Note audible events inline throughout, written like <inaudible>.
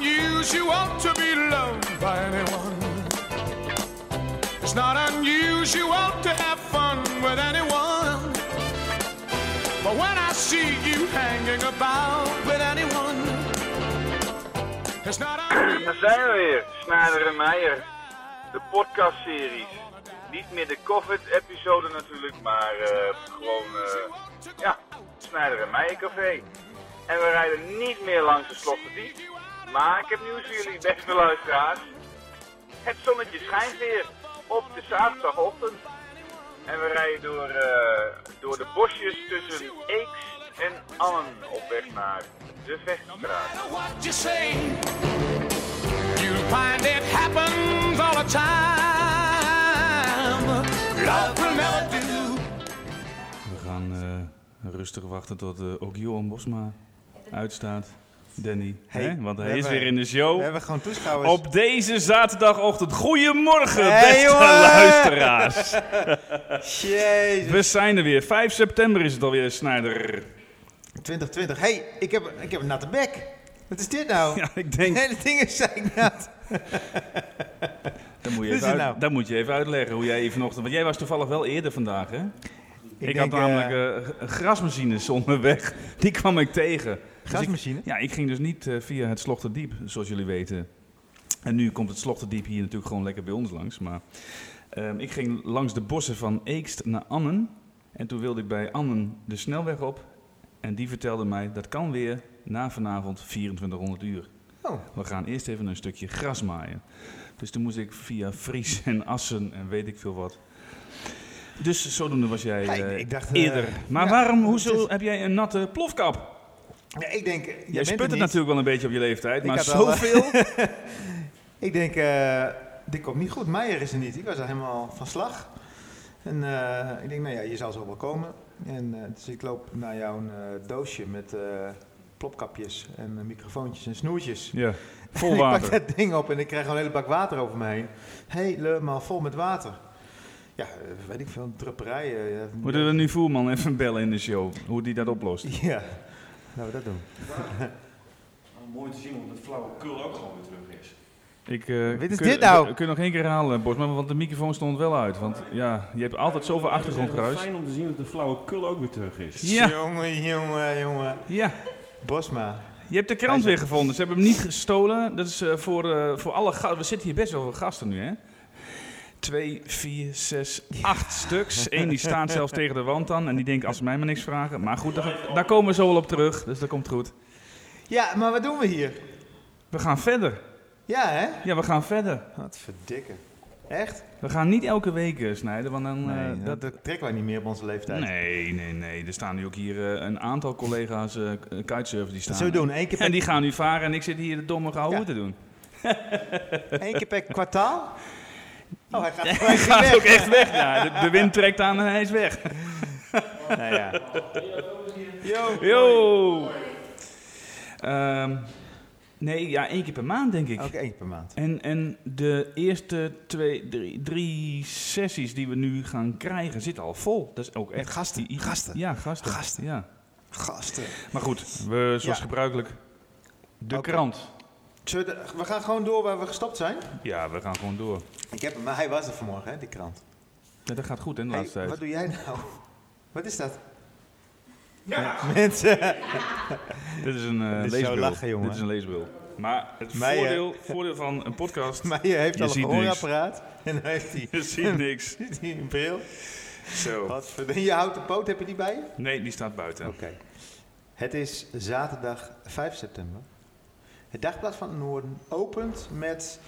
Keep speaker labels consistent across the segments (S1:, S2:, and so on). S1: you, she want to be loved by anyone. It's not unusual, she want to have fun with anyone. But when I see you hanging about with anyone, it's not
S2: Daar
S1: unusual.
S2: zijn we weer, Snader en Meijer. De podcastseries. Niet meer de COVID-episode natuurlijk, maar eh, gewoon, eh, ja, Snader en Meijer Café. En we rijden niet meer langs de Slotterdiep. Maar ik heb nieuws voor jullie, beste luisteraars. Het zonnetje schijnt weer op de zaterdagochtend. En we rijden door, eh, door de bosjes tussen Eeks en Annen op weg naar de Veststraat.
S1: matter what you say, you'll find it happens all the time. Love will never do.
S3: We gaan eh, rustig wachten tot eh ook Johan Bosma uitstaat. Danny,
S4: Hey,
S3: hè? want
S4: we
S3: hij is
S4: hebben-
S3: weer in de
S4: We
S3: show.
S4: hebben gewoon toeschouwers.
S3: Op deze zaterdagochtend. Goedemorgen,
S4: Hey,
S3: beste
S4: jongen!
S3: luisteraars.
S4: Jezus.
S3: We zijn er weer. 5 september is het alweer, Snijder. <laughs>
S4: 2020. Hé, hey, ik heb, ik heb een natte bek. Wat is dit nou? <laughs>
S3: Ja, ik denk,
S4: De hele ding is
S3: <laughs>
S4: zeiknat.
S3: dat moet, je
S4: Wat is
S3: even
S4: het
S3: uit-
S4: nou?
S3: dat moet je even uitleggen hoe jij hier vanochtend... Want jij was toevallig wel eerder vandaag, hè? Ik, had
S4: denk, eh,
S3: namelijk eh, g- grasmachines onderweg. <laughs> Die kwam ik tegen. Dus ik-
S4: Grasmachine?
S3: Ja, ik ging dus niet eh, via het Slochterdiep, zoals jullie weten. En nu komt het Slochterdiep hier natuurlijk gewoon lekker bij ons langs. Maar ehm, ik ging langs de bossen van Eekst naar Annen. En toen wilde ik bij Annen de snelweg op. En die vertelde mij, dat kan weer na vanavond 2400 uur.
S4: Oh.
S3: We gaan eerst even een stukje gras maaien. Dus toen moest ik via Fries en Assen en weet ik veel wat. Dus zodoende was jij
S4: Ja, ik-
S3: eh,
S4: ik dacht, eh,
S3: eerder. Maar
S4: ja,
S3: waarom,
S4: het
S3: hoezo
S4: is-
S3: heb jij een natte plofkap?
S4: Ja, ik denk, eh,
S3: Jij
S4: bent er
S3: sput het
S4: niet.
S3: natuurlijk wel een beetje op je leeftijd,
S4: Ik
S3: maar
S4: had wel, eh,
S3: zoveel.
S4: Ik denk, eh, dit komt niet goed. Meijer is er niet. Ik was al helemaal van slag. En eh, ik denk, nou ja, je zal zo wel komen. En eh, dus ik loop naar jouw eh, doosje met eh, plopkapjes en eh, microfoontjes en snoertjes.
S3: ja, vol
S4: <laughs> ik pak
S3: water.
S4: dat ding op en ik krijg gewoon een hele bak water over me heen. Helemaal vol met water. Ja, eh, weet ik veel, drupperijen. ja.
S3: Moeten we nu Voerman even bellen in de show, hoe die dat oplost?
S4: <laughs> Ja, laten we dat doen.
S5: Mooi te zien, want het flauwekul ook gewoon weer terug is.
S3: Ik, eh,
S4: Wat is
S3: kun-
S4: dit nou?
S3: Kun je nog één keer halen, Bosman, want de microfoon stond wel uit. Want ja, je hebt altijd zoveel
S5: Het is
S3: achtergrondgeruis.
S5: fijn om te zien dat de flauwekul ook weer terug is.
S3: Ja,
S4: Jongen, jongen, jongen.
S3: ja,
S4: Bosma.
S3: je hebt de krant weer gevonden. Ze hebben hem niet gestolen. Dat is eh, voor, eh, voor alle gasten. We zitten hier best wel veel gasten nu, hè? Twee, vier, zes,
S4: <laughs>
S3: acht stuks. Eén die staat zelfs tegen de wand aan en die denkt als ze mij maar niks vragen. Maar goed, daar, daar komen we zo wel op terug, dus dat komt goed.
S4: Ja, maar wat doen we hier?
S3: We gaan verder.
S4: Ja, hè?
S3: Ja, we gaan verder.
S4: Wat verdikken. Echt?
S3: We gaan niet elke week eh, snijden, want dan... eh,
S4: Nee, dat,
S3: dat,
S4: dat trekken wij niet meer op onze leeftijd.
S3: nee, nee, nee. Er staan nu ook hier eh, een aantal collega's eh k- kitesurfers die staan.
S4: Dat zullen we doen. Eén keer,
S3: En <laughs>
S4: per,
S3: die gaan nu varen en ik zit hier de domme gehouden
S4: Ja.
S3: te doen.
S4: één keer
S3: <laughs>
S4: per kwartaal? Oh, hij gaat gelijk weer
S3: Gaat
S4: weg.
S3: ook echt weg, ja. De, de wind trekt aan en hij is weg.
S4: Nou ja. Yo.
S3: Yo! Ehm, nee, ja, één keer per maand denk ik.
S4: Ook één keer per maand.
S3: En, en de eerste twee, drie, drie sessies die we nu gaan krijgen zitten al vol. Dat is ook echt...
S4: gasten,
S3: i- i-
S4: gasten.
S3: Ja, gasten.
S4: Gasten.
S3: Ja.
S4: Gasten.
S3: Maar goed, we, zoals
S4: Ja.
S3: gebruikelijk. De
S4: Oké.
S3: krant.
S4: Zullen we, de- we gaan gewoon door waar we gestopt zijn.
S3: Ja, we gaan gewoon door.
S4: Ik heb hem, maar hij was er vanmorgen, hè, die krant.
S3: Ja, dat gaat goed, hè, de
S4: Hey,
S3: laatste tijd.
S4: wat doe jij nou? <laughs> Wat is dat? Mensen. <laughs>
S3: Dit is een eh,
S4: Dit is
S3: leesbril.
S4: zo lachen, jongen.
S3: Dit is een leesbril. Maar het
S4: Mij, eh. <laughs>
S3: voordeel, voordeel van een podcast...
S4: Maar je heeft
S3: Je
S4: al een
S3: ziet niks.
S4: gehoorapparaat. <laughs> En dan heeft hij
S3: Je ziet niks.
S4: <laughs> ziet hij een bril.
S3: Zo.
S4: Wat voor <laughs> Je houdt de poot, heb je die bij je? Oké.
S3: Nee, die staat buiten.
S4: Het is zaterdag 5 september. Het Dagblad van het Noorden opent met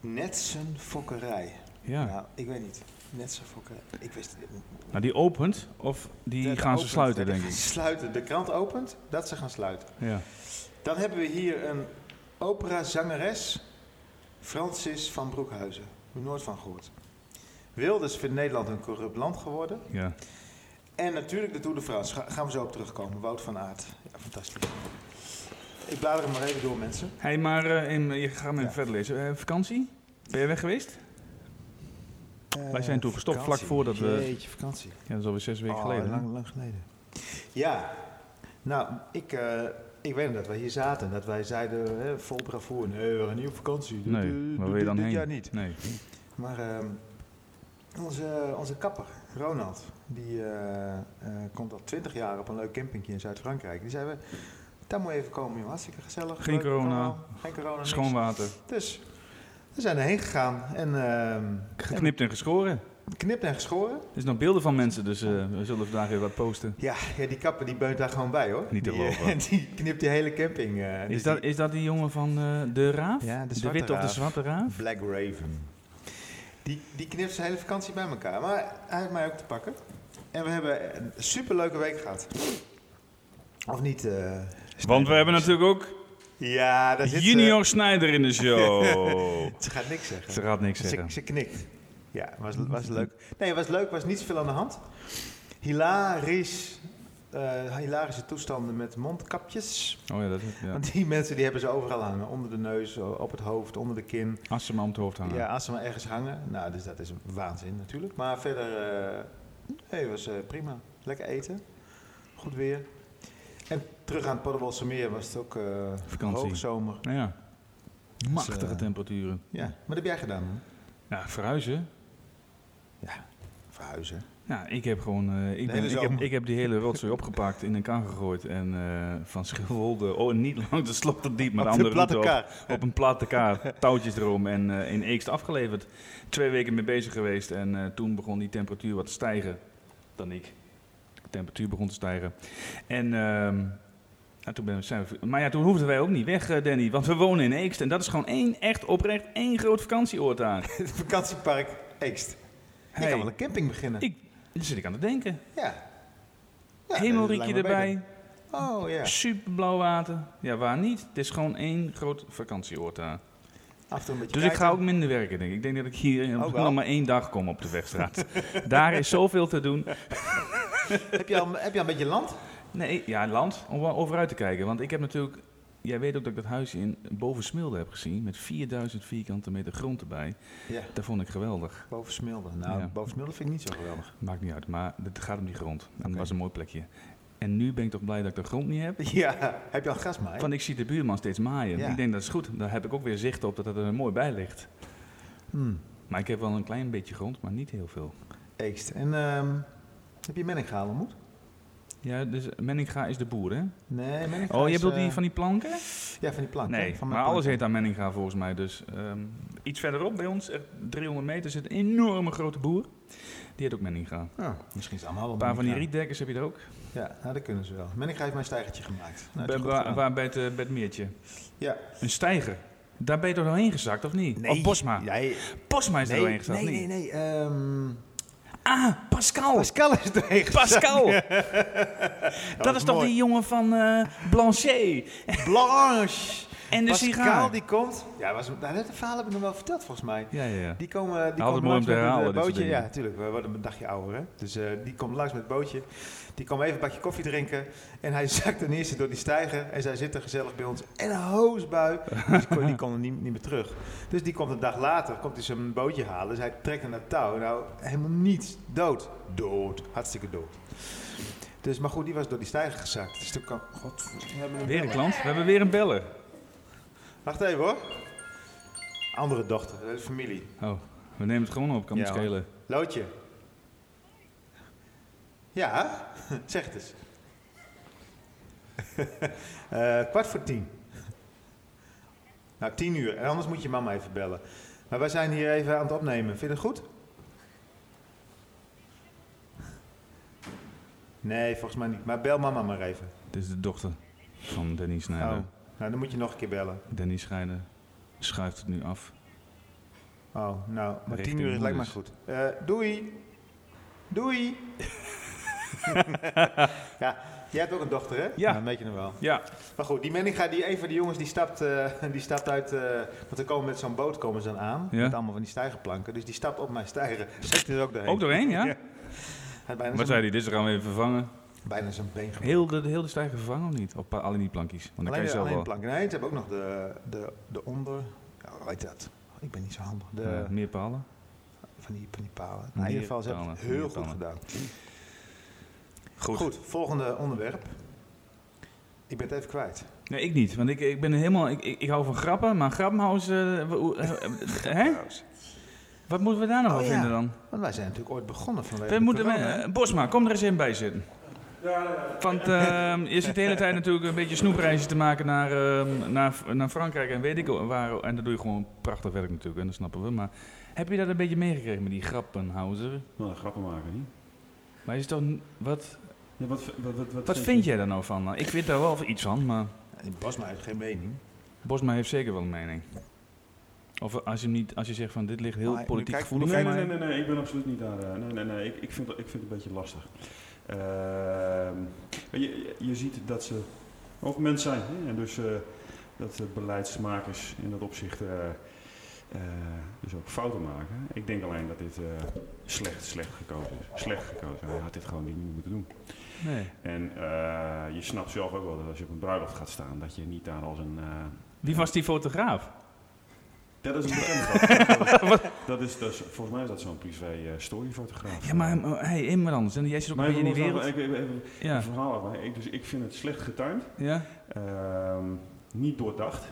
S4: Netsen fokkerij.
S3: Ja.
S4: Nou, ik weet niet. Netsen fokkerij. Ik wist het niet.
S3: Nou, die opent of die
S4: Dat
S3: gaan ze
S4: opent, <laughs>
S3: sluiten,
S4: dat
S3: denk
S4: gaan
S3: ik.
S4: ze Sluiten. De krant opent, dat ze gaan sluiten.
S3: Ja.
S4: Dan hebben we hier een operazangeres, Francis van Broekhuizen. Heb ik nooit van gehoord. Wilders vindt Nederland een corrupt land geworden.
S3: ja.
S4: En natuurlijk de Tour de France. Ga- gaan we zo op terugkomen. Wout van Aert. Ja, fantastisch. Ik blader hem maar even door, mensen.
S3: Hé, hey, maar eh, en, eh, je gaat me even
S4: Ja.
S3: verder lezen. Eh, vakantie? Ben je weg geweest? Wij zijn toen gestopt vlak voordat we-
S4: Eh, Jeetje, vakantie.
S3: Ja, dat is alweer zes weken
S4: Oh,
S3: geleden. hè?
S4: Lang, lang geleden. Ja. Nou, ik eh, ik weet nog dat wij hier zaten. Dat wij zeiden hè, vol bravoer, nee, we gaan niet op vakantie. Doe- doe-
S3: Nee,
S4: doe-
S3: waar
S4: doe
S3: wil je dan
S4: dit
S3: heen?
S4: jaar niet.
S3: Nee.
S4: Maar ehm, onze, onze kapper, Ronald, die eh, eh, komt al twintig jaar op een leuk campingje in Zuid-Frankrijk. Die zei, we, daar moet je even komen, jongen. Hartstikke gezellig.
S3: Geen
S4: leuk,
S3: corona.
S4: allemaal. Geen corona, niks.
S3: Schoon water.
S4: Dus we zijn erheen gegaan en ehm,
S3: Geknipt en geschoren.
S4: geknipt en geschoren.
S3: Er zijn nog beelden van mensen, dus eh, we zullen vandaag weer wat posten.
S4: Ja, ja die kapper die beunt daar gewoon bij hoor.
S3: Niet te
S4: Die, eh,
S3: geloven.
S4: <laughs> die knipt die hele camping. eh, dus
S3: Is dat,
S4: die-
S3: is dat die jongen van eh, de raaf?
S4: Ja, de
S3: de
S4: zwarte
S3: witte of de
S4: raaf.
S3: zwarte raaf?
S4: Black Raven. Die, die knipt zijn hele vakantie bij elkaar. Maar hij heeft mij ook te pakken. En we hebben een superleuke week gehad. Of niet? eh,
S3: Want
S4: Snijder?
S3: we hebben natuurlijk ook
S4: Ja, daar zit eh, ze.
S3: Junior Snijder in de
S4: <laughs>
S3: show.
S4: Ze gaat niks zeggen.
S3: Ze gaat niks
S4: Ze,
S3: zeggen.
S4: ze knikt. Ja, was, was leuk. Nee, was leuk, was niet zoveel aan de hand. Hilarisch. eh, hilarische toestanden met mondkapjes.
S3: Oh ja, dat is ja.
S4: Want die mensen die hebben ze overal hangen. Onder de neus, op het hoofd, onder de kin.
S3: Als ze maar om het hoofd hangen.
S4: Ja, als ze maar ergens hangen. Nou, dus dat is waanzin natuurlijk. Maar verder, eh nee, was eh, prima. Lekker eten. Goed weer. En terug aan het Paddenwolse meer was het ook eh
S3: Vakantie.
S4: hoogzomer.
S3: Nou ja. Machtige
S4: eh,
S3: temperaturen.
S4: Ja, maar dat heb jij gedaan. hè?
S3: Ja, verhuizen.
S4: Ja, verhuizen. <laughs>
S3: Ja, ik heb gewoon. eh, ik, ben,
S4: hele
S3: ik, heb,
S4: zomer.
S3: ik heb die hele rotzooi opgepakt, in een kar gegooid en eh, van Schilwolde. Oh, en niet <laughs> langs de Slotterdiep, maar de
S4: Op de
S3: andere
S4: platte
S3: route op-
S4: kar.
S3: Op, een platte kar, touwtjes erom en eh, in Eekst afgeleverd. Twee weken mee bezig geweest en eh, toen begon die temperatuur wat te stijgen. Dan ik. De temperatuur begon te stijgen. En. ehm, ja, toen ben we- zijn we, maar ja, toen hoefden wij ook niet weg, eh, Danny. Want we wonen in Eekst. En dat is gewoon één, echt oprecht, één groot vakantieoord
S4: <laughs>
S3: daar.
S4: Het vakantiepark Eekst. Je
S3: Hey.
S4: kan wel een camping beginnen.
S3: Ik, daar zit ik aan te denken.
S4: Ja. Ja,
S3: Hemelriekje
S4: dat lijkt me
S3: erbij.
S4: beter. Oh ja.
S3: Super blauw water. Ja, waar niet? Het is gewoon één groot vakantieoord daar.
S4: Af en toe een beetje
S3: Dus ik ga
S4: kijken.
S3: ook minder werken, denk ik. Ik denk dat ik hier <laughs>
S4: Ook Oh, wel.
S3: nog maar één dag kom op de
S4: <laughs>
S3: wegstraat. daar is zoveel te doen.
S4: Heb je, al, heb je al een beetje land?
S3: Nee, ja, land, om wel over uit te kijken. Want ik heb natuurlijk... Jij weet ook dat ik dat huis in boven Smilde heb gezien... met 4000 vierkante meter grond erbij.
S4: Ja.
S3: Dat vond ik geweldig.
S4: Boven Smilde. Nou,
S3: Ja.
S4: boven Smilde vind ik niet zo geweldig. <laughs>
S3: Maakt niet uit, maar het gaat om die grond. En dat was een mooi plekje. En nu ben ik toch blij dat ik de grond niet heb.
S4: Ja, heb je al gasmaai?
S3: Want ik zie de buurman steeds maaien.
S4: Ja.
S3: Ik denk dat is goed. Daar heb ik ook weer zicht op dat het er mooi bij ligt.
S4: Hmm.
S3: Maar ik heb wel een klein beetje grond, maar niet heel veel.
S4: Eekst. En ehm, heb je Menning gehaald, moet?
S3: Ja, dus Menninga is de boer, hè?
S4: Nee, Menning
S3: Oh, je bedoelt die van die planken?
S4: Ja, eh, van die plank.
S3: Nee,
S4: hè? van mijn
S3: maar alles
S4: plank.
S3: heet aan Menninga volgens mij. Dus ehm, iets verderop bij ons, echt 300 meter, zit een enorme grote boer. Die heet ook Menninga. Een
S4: Ja, Ah, misschien is het allemaal wel
S3: paar van die
S4: Menninga.
S3: rietdekkers heb je er ook.
S4: Ja, nou, dat kunnen ze wel. Menning heeft mijn stijgertje gemaakt. Nou, dat
S3: Bij,
S4: is goed
S3: waar,
S4: gedaan.
S3: waar bij, het, eh, bij het meertje.
S4: Ja.
S3: Een stijger. Daar ben je toch doorheen gezakt, of niet? Of Posma.
S4: Nee,
S3: Posma is er
S4: nee,
S3: doorheen
S4: nee,
S3: gezakt,
S4: nee.
S3: niet?
S4: nee, ehm,
S3: Ah, Pascal!
S4: Pascal is doorheen <laughs>
S3: Pascal! dat,
S4: was
S3: is toch
S4: mooi.
S3: die jongen van eh Blanchet
S4: Blanche!
S3: en de
S4: Pascal,
S3: sigaar.
S4: die komt... Ja, was, nou, dat verhaal heb ik nog wel verteld, volgens mij.
S3: Ja, ja, ja.
S4: Die komen, die
S3: Altijd
S4: komen
S3: mooi om
S4: langs
S3: te
S4: met
S3: herhalen,
S4: een
S3: dit soort
S4: bootje.
S3: dingen.
S4: Ja, natuurlijk. We worden een dagje ouder, hè. Dus eh, die komt langs met het bootje. Die kwam even een bakje koffie drinken. En hij <laughs> zakt ten eerste door die stijger. En zij zitten gezellig bij ons. En een hoosbui. Dus die kon- die kon er niet, niet meer terug. Dus die komt een dag later, komt hij zijn bootje halen. Dus hij trekt aan dat touw. Nou, helemaal niets. Dood. Dood. Hartstikke dood. Dus, maar goed, die was door die stijger gezakt. Dus toen kwam... God, we hebben een
S3: Weer een klant. We hebben weer een beller.
S4: Wacht even hoor. Andere dochter, dat is familie.
S3: Oh, we nemen het gewoon op. Kan
S4: Ja,
S3: niet
S4: hoor.
S3: schelen.
S4: Loodje. Ja, zeg het eens. <laughs> Eh, kwart voor tien. Nou, tien uur. En anders moet je mama even bellen. Maar wij zijn hier even aan het opnemen. Vind je het goed? Nee, volgens mij niet. Maar bel mama maar even.
S3: Dit is de dochter van Danny
S4: Oh.
S3: Snijder.
S4: Nou, dan moet je nog een keer bellen.
S3: Danny Snijder schuift het nu af.
S4: Oh, nou, maar
S3: Richting
S4: tien uur is lijkt me
S3: moeders.
S4: goed. Eh, doei. Doei. <laughs> ja, jij hebt ook een dochter, hè?
S3: Ja.
S4: Nou, weet je nog wel.
S3: Ja,
S4: Maar goed, die Menninga, die, een van die jongens, die stapt, eh, die stapt uit... eh, want er komen met zo'n boot komen ze dan aan.
S3: Ja.
S4: Met allemaal van die stijgerplanken. Dus die stapt op mijn stijger. <laughs> Zet er ook doorheen.
S3: ook doorheen, ja.
S4: Hij had bijna
S3: Wat
S4: zijn,
S3: zei hij? Dit gaan we even vervangen.
S4: Bijna zijn been gebroken.
S3: Heel de, de, heel de stijger vervangen of niet? Op alleen die plankjes. Want dan kan
S4: Alleen,
S3: je
S4: de,
S3: zelf
S4: alleen de
S3: wel
S4: planken. Nee, ze hebben ook nog de, de, de onder... Ja, hoe heet dat? Ik ben niet zo handig. De,
S3: eh, meer palen.
S4: van, die, van die palen. Nou, in ieder geval, ze hebben het
S3: Meerpalen,
S4: heel goed
S3: meerpalen.
S4: gedaan.
S3: Goed.
S4: Goed, volgende onderwerp. Ik ben het even kwijt.
S3: Nee, ik niet. Want ik, ik ben helemaal... Ik, ik, ik hou van grappen, maar Grappenhaus... eh, we-
S4: <laughs>
S3: hoe- eh, eh, hè? Wat moeten we daar nou
S4: Oh,
S3: van
S4: ja.
S3: vinden dan?
S4: Want wij zijn natuurlijk ooit begonnen vanwege
S3: We
S4: de
S3: moeten...
S4: corona, hè?
S3: eh, Bosma, kom er eens in bij zitten. Want ehm, je zit de hele tijd natuurlijk een beetje snoepreizen te maken naar, ehm, naar, naar Frankrijk en weet ik waar. En dat doe je gewoon prachtig werk natuurlijk, en dat snappen we. Maar heb je dat een beetje meegekregen met die Grappenhauser?
S5: Nou, grappen maken, niet?
S3: Maar is het toch... n- Wat,
S5: Ja, wat, v- wat, wat,
S3: wat vind jij daar nou van? Ik vind daar wel iets van, maar
S4: En Basma heeft geen mening.
S3: Bosma heeft zeker wel een mening. Of als je, hem niet, als je zegt van dit ligt heel
S4: Maar nu
S3: politiek
S4: kijk-
S3: gevoelig
S4: nu
S5: Nee,
S3: voor
S5: nee,
S3: mij.
S5: nee, nee, nee, ik ben absoluut niet daar. eh, nee, nee, nee, ik, ik, vind, dat- ik vind het een beetje lastig. Ehm, je- je, je ziet dat ze ook mens zijn. Hè? En dus eh, dat de beleidsmakers in dat opzicht eh, eh, dus ook fouten maken. Ik denk alleen dat dit eh, slecht, slecht gekozen is. Slecht gekozen. Hij had dit gewoon niet moeten doen.
S3: Nee.
S5: En eh, je snapt zelf ook wel dat als je op een bruiloft gaat staan, dat je niet daar als een... eh,
S3: Wie was die fotograaf?
S5: dat is
S3: <laughs>
S5: een bekende dat is, dat is, Volgens mij is dat zo'n privé eh, storyfotograaf.
S3: Ja, maar eh, hij hey, immer anders. En jij zit ook
S5: Maar
S3: een beetje in die
S5: ik wil
S3: wereld.
S5: nog even- even- even
S3: Ja,
S5: een verhaal af. Ik, dus ik vind het slecht getimed.
S3: ja.
S5: Ehm, niet doordacht.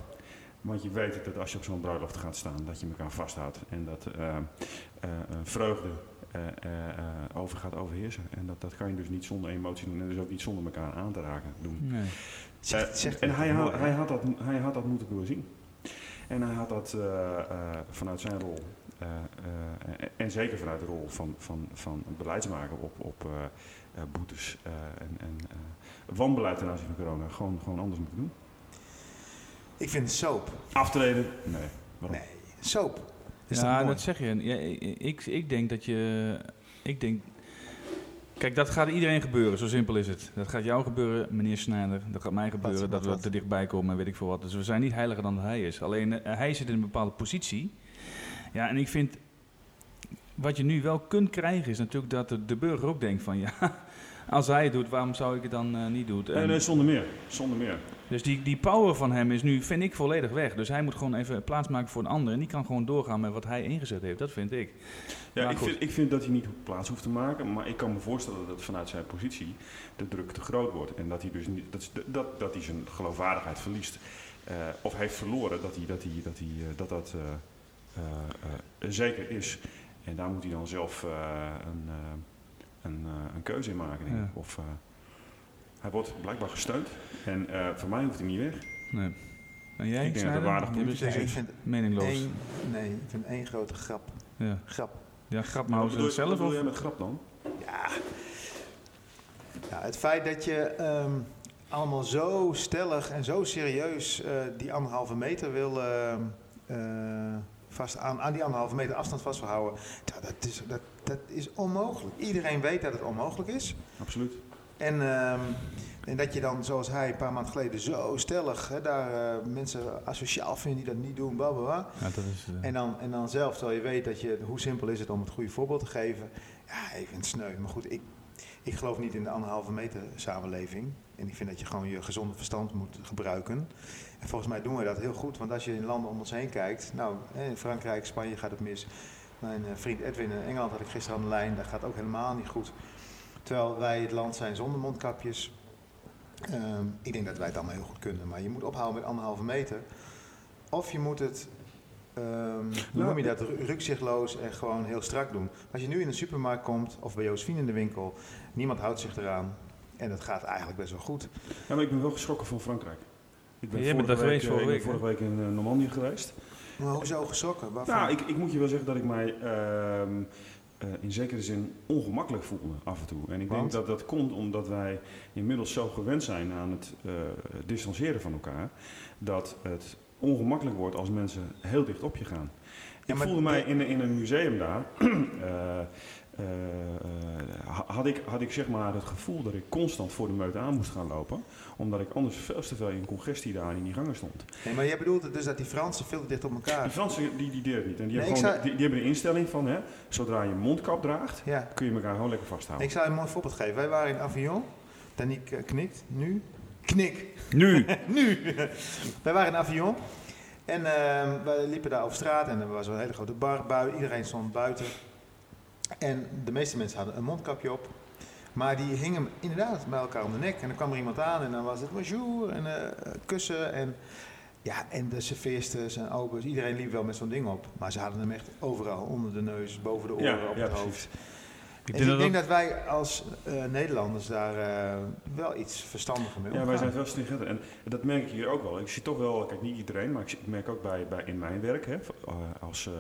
S5: Want je weet dat als je op zo'n bruiloft gaat staan, dat je elkaar vasthoudt. En dat ehm, eh, eh, vreugde eh, eh, eh, over gaat overheersen. En dat, dat kan je dus niet zonder emotie doen. En dus ook niet zonder elkaar aan te raken doen.
S3: Nee.
S5: Eh,
S4: Zegt, zegt
S5: en
S4: het
S5: hij,
S4: mooi,
S5: had,
S4: hè?
S5: hij, had dat, hij had dat moeten doorzien. En hij had dat eh, eh, vanuit zijn rol, eh, eh, en, en zeker vanuit de rol van, van, van een beleidsmaker op, op eh, eh, boetes eh, en, en eh, wanbeleid ten aanzien van corona, gewoon, gewoon anders moeten doen.
S4: Ik vind soap.
S5: Aftreden? Nee. Waarom?
S4: Nee, soap. Is
S3: ja,
S4: toch mooi?
S3: dat zeg je. Ja, ik- ik, ik denk dat je. Ik denk. Kijk, dat gaat iedereen gebeuren, zo simpel is het. Dat gaat jou gebeuren, meneer Snijder. Dat gaat mij gebeuren,
S4: wat,
S3: dat we
S4: wat?
S3: te dichtbij komen en weet ik veel wat. Dus we zijn niet heiliger dan hij is. Alleen eh, hij zit in een bepaalde positie. Ja, en ik vind. Wat je nu wel kunt krijgen, is natuurlijk dat de, de burger ook denkt: van ja, <laughs> als hij het doet, waarom zou ik het dan eh, niet doen?
S5: Nee,
S3: En-
S5: nee, zonder meer. Zonder meer.
S3: dus die, die power van hem is nu, vind ik, volledig weg. Dus hij moet gewoon even plaatsmaken voor een ander. En die kan gewoon doorgaan met wat hij ingezet heeft. Dat vind ik.
S5: Ja,
S3: Maar
S5: ik
S3: goed.
S5: vind, ik vind dat hij niet plaats hoeft te maken, maar ik kan me voorstellen dat vanuit zijn positie de druk te groot wordt. En dat hij dus niet, dat, is- dat, dat hij zijn geloofwaardigheid verliest. eh, of heeft verloren dat hij, dat, hij, dat, hij, eh, dat, dat eh, eh, eh, zeker is. En daar moet hij dan zelf eh, een, eh, een, eh, een keuze in maken. Denk ik.
S3: Ja.
S5: Of, eh, hij wordt blijkbaar gesteund. En eh, voor mij hoeft hij niet weg.
S3: Nee. En jij?
S5: Ik denk dat
S3: Snijder?
S5: er waardig
S3: Je bent
S5: politici
S4: Ik
S5: zijn.
S3: echt
S4: vind
S3: Meningloos.
S4: één, nee, ik vind één grote grap.
S3: Ja,
S4: Grap.
S3: ja
S5: Wat
S3: Grappenhauser
S5: bedoel je- Wat
S3: zelf
S5: bedoel
S3: of?
S5: jij met grap dan?
S4: Ja. ja het feit dat je ehm, allemaal zo stellig en zo serieus eh, die anderhalve meter wil. ehm, eh, vast aan, aan die anderhalve meter afstand vast wil houden. Ja, dat, is, dat, dat is onmogelijk. Iedereen weet dat het onmogelijk is.
S5: Absoluut.
S4: En, ehm, en dat je dan, zoals hij een paar maanden geleden, zo stellig hè, daar eh, mensen asociaal vinden die dat niet doen, bla bla bla.
S3: Ja, dat is, eh,
S4: En dan, en dan zelf, terwijl je weet dat je, hoe simpel is het om het goede voorbeeld te geven. Ja, ik vind het sneu. Maar goed, ik, ik geloof niet in de anderhalve meter samenleving. En ik vind dat je gewoon je gezonde verstand moet gebruiken. En volgens mij doen we dat heel goed. Want als je in landen om ons heen kijkt, nou, hè, in Frankrijk, Spanje gaat het mis. Mijn eh, vriend Edwin in Engeland had ik gisteren aan de lijn. Dat gaat ook helemaal niet goed. Terwijl wij het land zijn zonder mondkapjes. Ehm, ik denk dat wij het allemaal heel goed kunnen. Maar je moet ophouden met anderhalve meter. Of je moet het, ehm, hoe
S5: Nou,
S4: noem je dat, ru- rukzichtloos en gewoon heel strak doen. Als je nu in de supermarkt komt of bij Joosfien in de winkel, niemand houdt zich eraan. En dat gaat eigenlijk best wel goed.
S5: Ja, maar ik ben wel geschrokken van Frankrijk. Ik
S3: Jij bent daar geweest
S5: eh,
S3: vorige
S5: ik ben
S3: week,
S5: vorige week in eh, Normandië geweest.
S4: Maar hoezo geschrokken? Waarvan?
S5: Nou, ik, ik moet je wel zeggen dat ik mij ehm, eh, in zekere zin ongemakkelijk voelde af en toe. En ik
S4: Want?
S5: denk dat dat komt omdat wij inmiddels zo gewend zijn aan het eh, distancieren van elkaar. Dat het ongemakkelijk wordt als mensen heel dicht op je gaan.
S4: Ja,
S5: ik
S4: maar
S5: voelde mij
S4: de-
S5: in, in een museum daar. <clears throat> eh, eh, eh, had, ik, had ik zeg maar het gevoel dat ik constant voor de meute aan moest gaan lopen. Omdat ik anders veel te veel in congestie daar in die gangen stond.
S4: Nee, maar jij bedoelt dus dat die Fransen veel te dicht op
S5: De
S4: elkaar.
S5: Fransen die, die deden het niet. En die,
S4: Ah. Nee,
S5: hebben
S4: ik
S5: gewoon,
S4: zou-
S5: die, die hebben de instelling van, hè, zodra je een mondkap draagt,
S4: Ja.
S5: kun je elkaar gewoon lekker vasthouden.
S4: Ik zou je een mooi voorbeeld geven. Wij waren in Avignon. Daniek eh, knikt nu. Knik!
S3: Nu!
S4: nu. Wij waren in Avignon. En eh, wij liepen daar op straat en er was een hele grote bar buiten. Iedereen stond buiten. En de meeste mensen hadden een mondkapje op. Maar die hingen hem inderdaad bij elkaar om de nek. En dan kwam er iemand aan en dan was het bonjour en eh, kussen. En, ja, en de serveersters en obers, iedereen liep wel met zo'n ding op. Maar ze hadden hem echt overal, onder de neus, boven de <laughs> oren,
S5: Ja,
S4: op
S5: ja,
S4: het
S5: precies.
S4: hoofd.
S3: Ik
S4: en
S3: denk dat
S4: ik denk
S3: dat-
S4: dat wij als eh, Nederlanders daar eh, wel iets verstandiger mee
S5: Ja, wij zijn
S4: omgaan.
S5: veel stringenter. En dat merk ik hier ook wel. Ik zie toch wel, kijk niet iedereen, maar ik zie- ik merk ook bij, bij in mijn werk hè, v- eh, als, eh,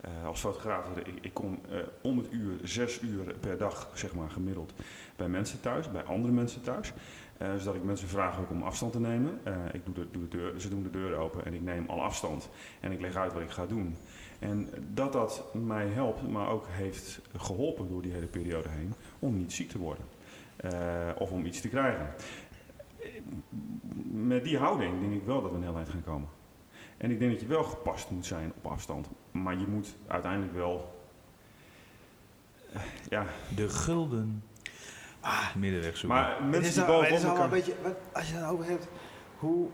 S5: eh, als fotograaf. Ik, ik kom eh, om het uur, zes uur per dag, zeg maar gemiddeld, bij mensen thuis, bij andere mensen thuis. Eh, zodat ik mensen vraag ook om afstand te nemen. Eh, ik doe de, doe de deur, ze doen de deur open en ik neem al afstand. En ik leg uit wat ik ga doen. En dat dat mij helpt, maar ook heeft geholpen door die hele periode heen, om niet ziek te worden. Eh, of om iets te krijgen met die houding denk ik wel dat we een heel eind gaan komen. En ik denk dat je wel gepast moet zijn op afstand. Maar je moet uiteindelijk wel. eh, Ja,
S3: De gulden. Ah, Middenweg zoeken.
S5: maar
S4: Het
S5: mensen
S4: is
S5: die
S4: nou- het
S5: boven
S4: is allemaal
S5: elkaar.
S4: een beetje, wat- als je het over hebt, hoe,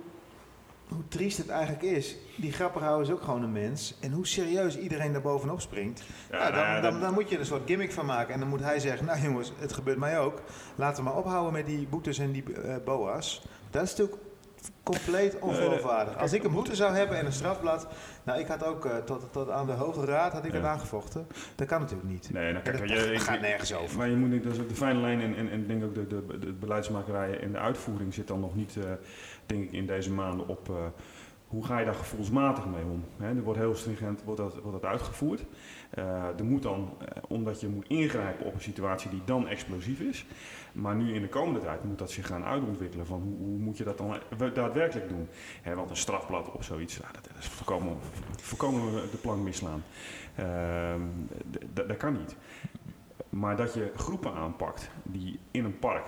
S4: hoe triest het eigenlijk is. Die grappenhouder is ook gewoon een mens. En hoe serieus iedereen daar bovenop springt.
S5: Ja,
S4: Ja,
S5: nou ja,
S4: dan, dan,
S5: dat-
S4: dan moet je er een soort gimmick van maken. En dan moet hij zeggen, nou jongens, het gebeurt mij ook. Laten we maar ophouden met die boetes en die eh, boa's. Dat is natuurlijk compleet
S5: Eh,
S4: ongeloofwaardig. Als ik een boete zou hebben en een strafblad... Nou, ik had ook eh, tot, tot aan de Hoge Raad had ik
S5: Ja.
S4: het aangevochten. Dat kan natuurlijk niet.
S5: Nee, nou, kijk,
S4: dat
S5: je,
S4: gaat
S5: ik,
S4: nergens over.
S5: maar je moet niet, dat is ook de fijne lijn en, en, en ik denk ook de, de, de beleidsmakerij en de uitvoering zit dan nog niet, eh, denk ik, in deze maanden op eh, hoe ga je daar gevoelsmatig mee om. Hè, er wordt heel stringent wordt dat, wordt dat uitgevoerd. Eh, er moet dan, eh, omdat je moet ingrijpen op een situatie die dan explosief is. Maar nu in de komende tijd moet dat zich gaan uitontwikkelen. Van hoe, hoe moet je dat dan we- daadwerkelijk doen? Hè, want een strafblad op zoiets, nou, dat, dat is voorkomen, voorkomen we de plank misslaan. Ehm, d- d- dat kan niet. Maar dat je groepen aanpakt die in een park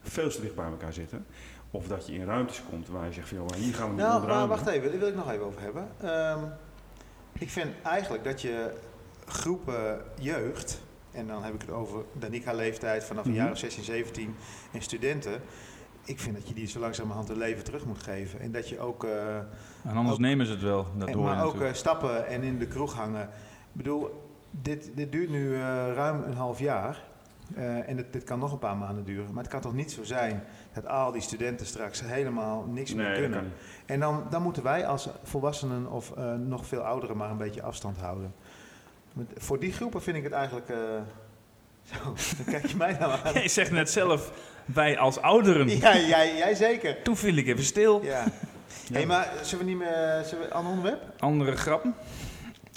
S5: veel te dicht bij elkaar zitten. Of dat je in ruimtes komt waar je zegt van joh, hier gaan we niet
S4: Nou, maar
S5: onderuit.
S4: wacht even, daar wil ik nog even over hebben. Ehm, ik vind eigenlijk dat je groepen jeugd, en dan heb ik het over Danica-leeftijd vanaf een
S5: Mhm.
S4: jaar of 16, 17 en studenten. Ik vind dat je die zo langzamerhand hun leven terug moet geven. En dat je ook, eh,
S3: en anders
S4: ook-
S3: nemen ze het wel. Dat
S4: en-
S3: hoor je
S4: maar ook
S3: natuurlijk.
S4: eh, stappen en in de kroeg hangen. Ik bedoel, dit, dit duurt nu eh, ruim een half jaar. Eh, en dit, dit kan nog een paar maanden duren. Maar het kan toch niet zo zijn dat al die studenten straks helemaal niks meer
S5: Nee, dat
S4: kunnen.
S5: kan niet.
S4: En dan, dan moeten wij als volwassenen of eh, nog veel ouderen maar een beetje afstand houden. Want voor die groepen vind ik het eigenlijk. eh, <laughs> zo, dan kijk je mij nou
S5: <laughs>
S3: <laughs>
S4: aan.
S3: Jij zegt net zelf, wij als ouderen.
S4: Ja, jij, jij zeker.
S3: Toen viel ik even stil.
S4: Ja. hey, maar zullen we niet meer. Zullen we aan een onderwerp?
S3: Andere grappen.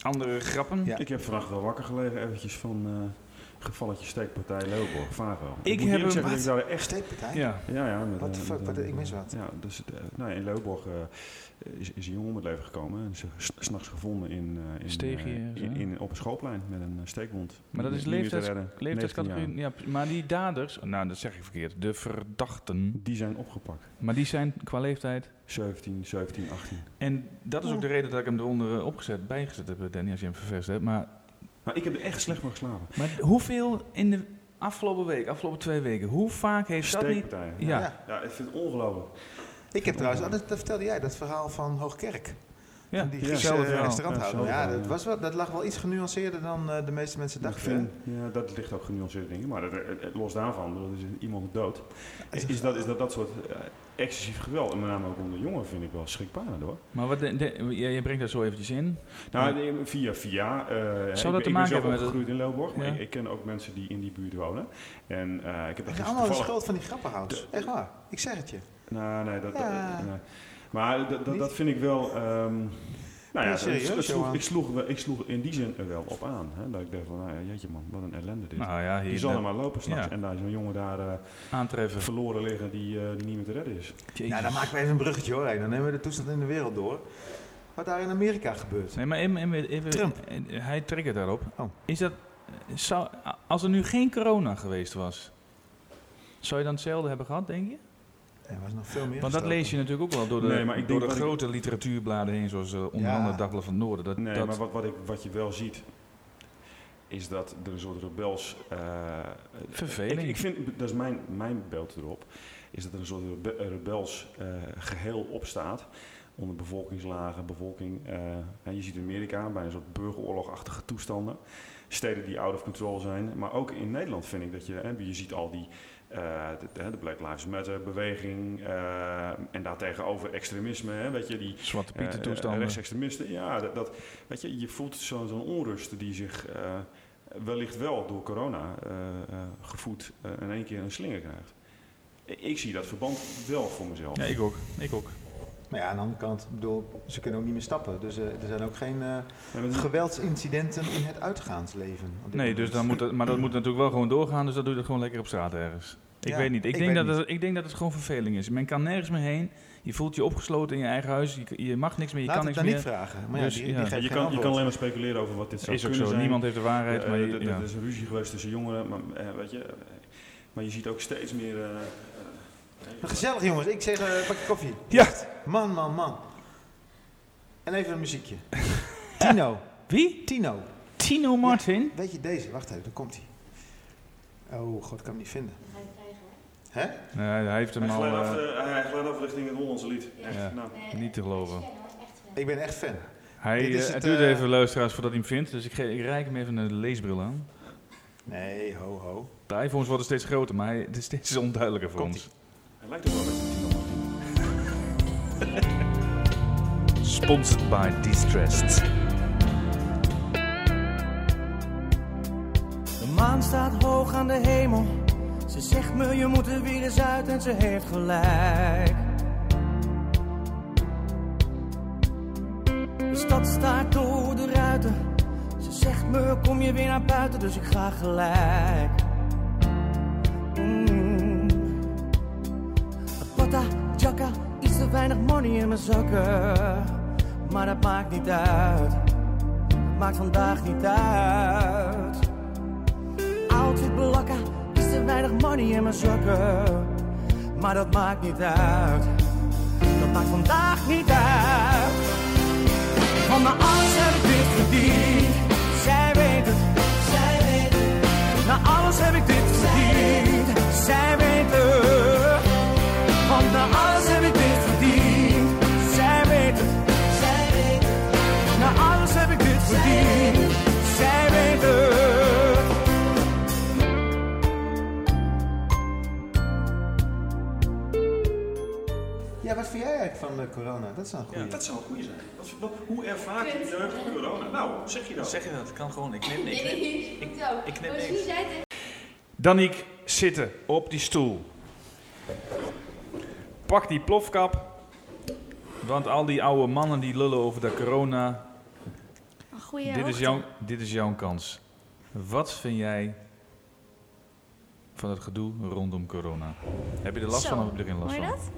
S3: Andere grappen.
S4: Ja.
S5: Ik heb vannacht wel wakker gelegen eventjes van eh gevalletje steekpartij Leeuwenborg, vaak wel.
S3: Ik heb
S5: moet eerlijk
S3: hem-
S5: zeggen dat ik daar echt...
S4: Steekpartij?
S3: Ja.
S5: Ja, ja. Met,
S4: What
S5: eh,
S4: the fuck,
S5: met,
S4: wat-
S5: eh,
S4: ik mis wat.
S5: Ja, dus eh, nou, ja, in Leeuwenborg eh, is, is een jongen om het leven gekomen. En is s- s'nachts gevonden in, eh, in,
S3: Steegje,
S5: eh,
S3: zo.
S5: in, in- op een schooplijn met een eh, steekwond.
S3: Maar dat is
S5: Niet meer te
S3: leeftijds-
S5: redden. 19
S3: Leeftijdscategorie.
S5: jaar.
S3: Ja, pre- maar die daders, nou dat zeg ik verkeerd, de verdachten,
S5: Die zijn opgepakt.
S3: maar die zijn qua leeftijd.
S5: 17, 17, 18.
S3: En dat is ook de reden dat ik hem eronder eh, opgezet, bijgezet heb, eh, Danny, als je hem vervest hebt. Maar,
S5: Maar ik heb er echt slecht voor geslapen.
S3: maar hoeveel in de afgelopen week, afgelopen twee weken, hoe vaak heeft dat niet...
S5: Steekpartijen.
S3: Ja.
S5: Ja, ik vind het ongelooflijk.
S4: Ik heb trouwens, ah, dat, dat vertelde jij, dat verhaal van Hoogkerk.
S3: Ja,
S4: Van die
S5: ja,
S4: Griekse
S3: hetzelfde
S4: eh,
S3: verhaal.
S4: restauranthouder.
S5: Ja,
S4: Ja,
S5: hetzelfde,
S4: dat,
S5: ja.
S4: was wel, dat lag wel iets genuanceerder dan eh, de meeste mensen
S5: Ik
S4: dachten.
S5: vind, ja, dat ligt ook genuanceerd dingen. Maar dat, eh, eh, los daarvan, dat is iemand dood. Is, is dat, is dat dat soort eh, excessief geweld, en met name ook onder jongeren, vind ik wel schrikbarend hoor.
S3: Maar wat de- de- jij jij brengt dat zo eventjes in.
S5: Nou, nee, via via. eh, ik
S3: te
S5: ben- ik
S3: maken
S5: ben zelf
S3: hebben met
S5: opgegroeid in Leeuwborg, maar
S3: Ja.
S5: ik, ik ken ook mensen die in die buurt wonen. En eh,
S4: Het
S5: ik heb daar
S4: is
S5: gisteren
S4: allemaal de
S5: toevallig...
S4: schuld van die grappenhouders. Echt waar, ik zeg het je.
S5: Nou, nee, dat... dat-
S4: Ja.
S5: nee. Maar dat, dat,
S4: Niet?
S5: dat vind ik wel... ehm, nou ja,
S4: Ja,
S5: het-
S4: serieus,
S5: het sloeg,
S4: Johan.
S5: ik, sloeg, wel- ik sloeg in die zin er wel op aan. Hè, dat ik dacht van, nou, jeetje man, wat een ellende dit.
S3: Nou ja,
S5: die
S3: hier
S5: zal er
S3: dat
S5: maar lopen straks.
S3: Ja.
S5: En daar is een jongen daar eh,
S3: aantreffen.
S5: verloren liggen die, eh, die niet meer te redden is.
S4: Nou, dan maken we even een bruggetje hoor. Hey, Dan nemen we de toestand in de wereld door. Wat daar in Amerika gebeurt.
S3: Nee, maar even, even, even-
S4: Trump.
S3: eh, hij triggert daarop.
S4: Oh.
S3: Is dat, eh, zou, als er nu geen corona geweest was, zou je dan hetzelfde hebben gehad, denk je?
S4: Er was nog veel meer.
S3: Want dat
S4: gestoken.
S3: lees je natuurlijk ook wel door de,
S5: Nee, maar ik
S3: door de
S5: denk wat ik-
S3: grote literatuurbladen heen, zoals eh, onder
S4: Ja.
S3: andere het Dagblad van het Noorden. Dat,
S5: Nee,
S3: dat,
S5: maar wat, wat, ik, wat je wel ziet, is dat er een soort rebels... eh,
S3: Verveling.
S5: Ik, ik vind, dat is mijn, mijn beeld erop, is dat er een soort rebe- rebels eh, geheel opstaat onder bevolkingslagen, bevolking. eh, en je ziet in Amerika bij een soort burgeroorlogachtige toestanden. Steden die out of control zijn. Maar ook in Nederland vind ik dat je, hè, je ziet al die eh, de, de- de Black Lives Matter beweging eh, en daartegenover extremisme. Hè, weet je, die,
S3: Zwarte
S5: eh,
S3: pieten toestanden.
S5: rechtsextremisten, ja. Dat, dat, weet je, je voelt zo'n zo'n onrust die zich eh, wellicht wel door corona eh, eh, gevoed eh, in één keer een slinger krijgt. Ik, ik zie dat verband wel voor mezelf.
S3: ja, ik ook. Ik ook.
S4: Maar ja, aan de andere kant, ik bedoel, ze kunnen ook niet meer stappen. Dus eh, er zijn ook geen eh,
S5: Ja, maar dat-
S4: geweldsincidenten in het uitgaansleven. op dit
S3: Nee,
S4: moment.
S3: dus dan moet het, maar dat moet natuurlijk wel gewoon doorgaan, dus dat doe je gewoon lekker op straat ergens. Ik
S4: Ja,
S3: weet niet. Ik,
S4: ik
S3: denk
S4: weet
S3: dat Het, ik denk dat het gewoon verveling is. Men kan nergens meer heen. Je voelt je opgesloten in je eigen huis. Je, je mag niks meer. Je
S4: Laat
S3: kan
S4: het
S3: niks
S4: dan
S3: meer.
S4: niet vragen. Maar ja,
S3: Dus,
S4: die,
S3: ja.
S4: die
S5: ja,
S4: geeft
S5: je,
S4: geen
S5: kan, je
S4: antwoord.
S5: kan alleen maar speculeren over wat dit zou
S3: is ook
S5: kunnen
S3: zo.
S5: zijn.
S3: Niemand heeft de waarheid.
S5: Eh,
S3: maar je-
S5: d- d-
S3: ja.
S5: Er is een ruzie geweest tussen jongeren, maar eh, weet je, eh, maar je ziet ook steeds meer. eh, eh,
S4: Maar gezellig jongens, ik zeg eh pak je koffie.
S3: Ja.
S4: Man, man, man. En even een
S3: <laughs>
S4: muziekje. Tino.
S3: Wie?
S4: Tino.
S3: Tino Martin?
S4: Weet je deze? Wacht even, daar komt hij. Oh god, ik kan hem niet vinden. Hè?
S3: Nee, hij heeft hem
S5: hij
S3: al
S5: glijdt af,
S3: eh,
S5: eh, hij glijdt af richting het Hollandse lied. Echt,
S3: Ja.
S5: nou.
S3: niet te geloven.
S4: Ik ben echt fan.
S3: Hij,
S4: Dit is
S3: eh,
S4: het,
S3: het duurt
S4: eh,
S3: even luisteraars voordat hij hem vindt, dus ik, ge- ik reik hem even een leesbril aan.
S4: Nee, ho, ho.
S3: De iPhones worden steeds groter, maar hij, het is steeds onduidelijker voor
S4: Komt-ie.
S3: ons.
S5: Hij lijkt ook wel met een tiener.
S3: Sponsored by Distressed.
S6: De maan staat hoog aan de hemel. Ze zegt me, je moet er weer eens uit en ze heeft gelijk. De stad staat door de ruiten. Ze zegt me, kom je weer naar buiten, dus ik ga gelijk. Mm. Patta, jacka, iets te weinig money in mijn zakken. Maar dat maakt niet uit. Dat maakt vandaag niet uit altijd blakken. Is te weinig money in mijn zakken. Maar dat maakt niet uit. Dat maakt vandaag niet uit. Want mijn alles heb ik dit verdiend. Zij weet het. Zij weet het. Na alles heb ik dit verdiend. Zij weet het. Want na alles heb ik dit verdiend. Zij weet het. Zij weet het. Na alles heb ik dit verdiend. Zij weet het.
S4: Ja, wat vind jij eigenlijk van eh, corona? Dat is wel een goede.
S5: Ja, dat zou een goeie zijn. Wat, wat, hoe ervaart je jeugd corona? Nou, zeg je dat?
S3: je dat? Kan gewoon, ik knip
S7: Ik knip niks. Wie zei het?
S3: Daniek, zitten op die stoel. Pak die plofkap. Want al die oude mannen die lullen over de corona.
S7: Een goede
S3: dit, is
S7: hoogte.
S3: jouw, dit is jouw kans. Wat vind jij van het gedoe rondom corona? Heb je er last
S7: Zo.
S3: van of heb je er geen last
S7: Hoor je
S3: van?
S7: dat?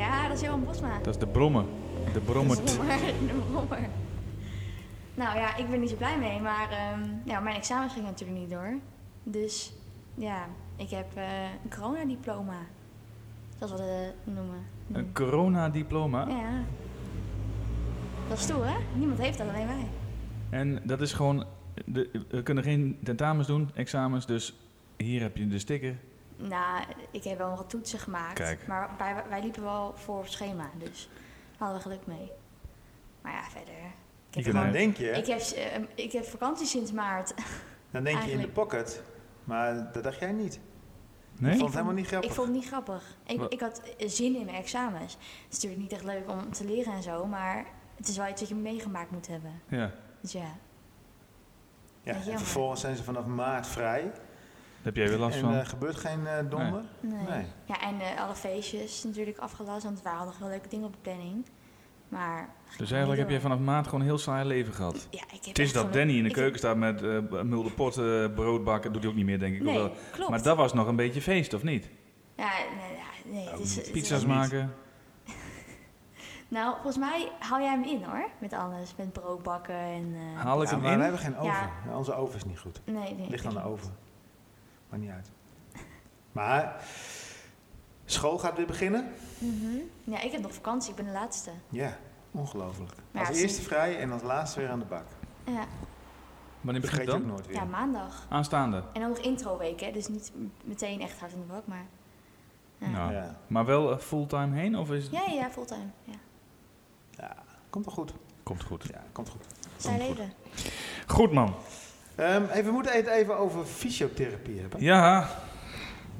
S7: Ja, dat is Johan Bosma.
S3: Dat is de brommer. De brommer.
S7: De brommer, de brommer. Nou ja, ik ben niet zo blij mee, maar ehm, ja, mijn examen ging natuurlijk niet door. Dus ja, ik heb eh, een coronadiploma. Dat is wat we het noemen.
S3: Een coronadiploma.
S7: Ja. Dat is stoer, hè? Niemand heeft dat, alleen wij.
S3: En dat is gewoon. De, we kunnen geen tentamens doen, examens. Dus hier heb je de sticker.
S7: Nou, ik heb wel wat toetsen gemaakt.
S3: Kijk.
S7: Maar wij, wij liepen wel voor op schema, dus daar hadden we geluk mee. Maar ja, verder. Ik
S3: Ik
S7: heb, gewoon-
S4: Dan denk je,
S7: ik heb, ehm, ik heb vakantie sinds maart.
S4: dan denk je in de
S7: eigenlijk-
S4: pocket. Maar dat dacht jij niet.
S3: Nee?
S4: Ik vond het helemaal niet grappig.
S7: Ik vond het niet grappig. Ik,
S3: Wat?
S7: ik had eh, zin in mijn examens. Het is natuurlijk niet echt leuk om te leren en zo, maar het is wel iets wat je meegemaakt moet hebben.
S3: Ja.
S7: Dus ja.
S4: Ja,
S7: Ja,
S4: en
S7: jammer.
S4: vervolgens zijn ze vanaf maart vrij.
S3: Daar heb jij weer last
S4: en
S3: van.
S4: eh, gebeurt geen eh, donder.
S7: Nee.
S4: Nee.
S7: Ja, en eh, alle feestjes natuurlijk afgelast, want er waren nog wel leuke dingen op de planning. Maar.
S3: Dus eigenlijk heb
S7: je
S3: jij vanaf maart gewoon een heel saai leven gehad.
S7: Ja, ik heb
S3: Het is
S7: echt
S3: dat
S7: gewoon-
S3: Danny in de
S7: ik-
S3: keuken staat met eh mulde pot, eh, broodbakken. Doet hij ook niet meer, denk ik.
S7: Nee,
S3: Hoewel-
S7: klopt.
S3: Maar dat was nog een beetje feest, of niet?
S7: Ja, nee, ja, nee. het is- het is-
S3: Oh, Pizza's maken.
S7: Nou, volgens mij haal jij hem in hoor. Met alles. Met broodbakken en. eh,
S3: Haal ik
S4: Ja,
S3: hem
S4: maar we
S3: in?
S4: hebben geen oven.
S7: Ja.
S4: Ja, Onze oven is niet goed.
S7: Nee, nee.
S4: Ligt aan
S7: ik-
S4: de oven. Maakt niet uit. Maar school gaat weer beginnen.
S7: Mhm. Ja, ik heb nog vakantie. Ik ben de laatste.
S4: Ja, ongelooflijk.
S7: Ja,
S4: Als
S7: het is-
S4: eerste vrij en als laatste weer aan de bak.
S7: Ja,
S3: Wanneer
S4: Dat
S3: begint
S4: vergeet
S3: het
S4: je ook
S3: dan?
S4: nooit weer.
S7: ja maandag.
S3: Aanstaande.
S7: En dan nog introweek, hè? Dus niet m- meteen echt hard aan de bak, maar. Ja,
S3: Nou,
S4: Ja.
S3: Maar wel eh, fulltime heen? Of is het...
S7: ja, ja, fulltime. Ja.
S3: Ah.
S4: Komt wel goed.
S3: Komt goed.
S4: Ja, komt goed.
S7: Zij leven.
S3: Goed man.
S4: Ehm, even, we moeten het even over fysiotherapie hebben.
S3: Ja,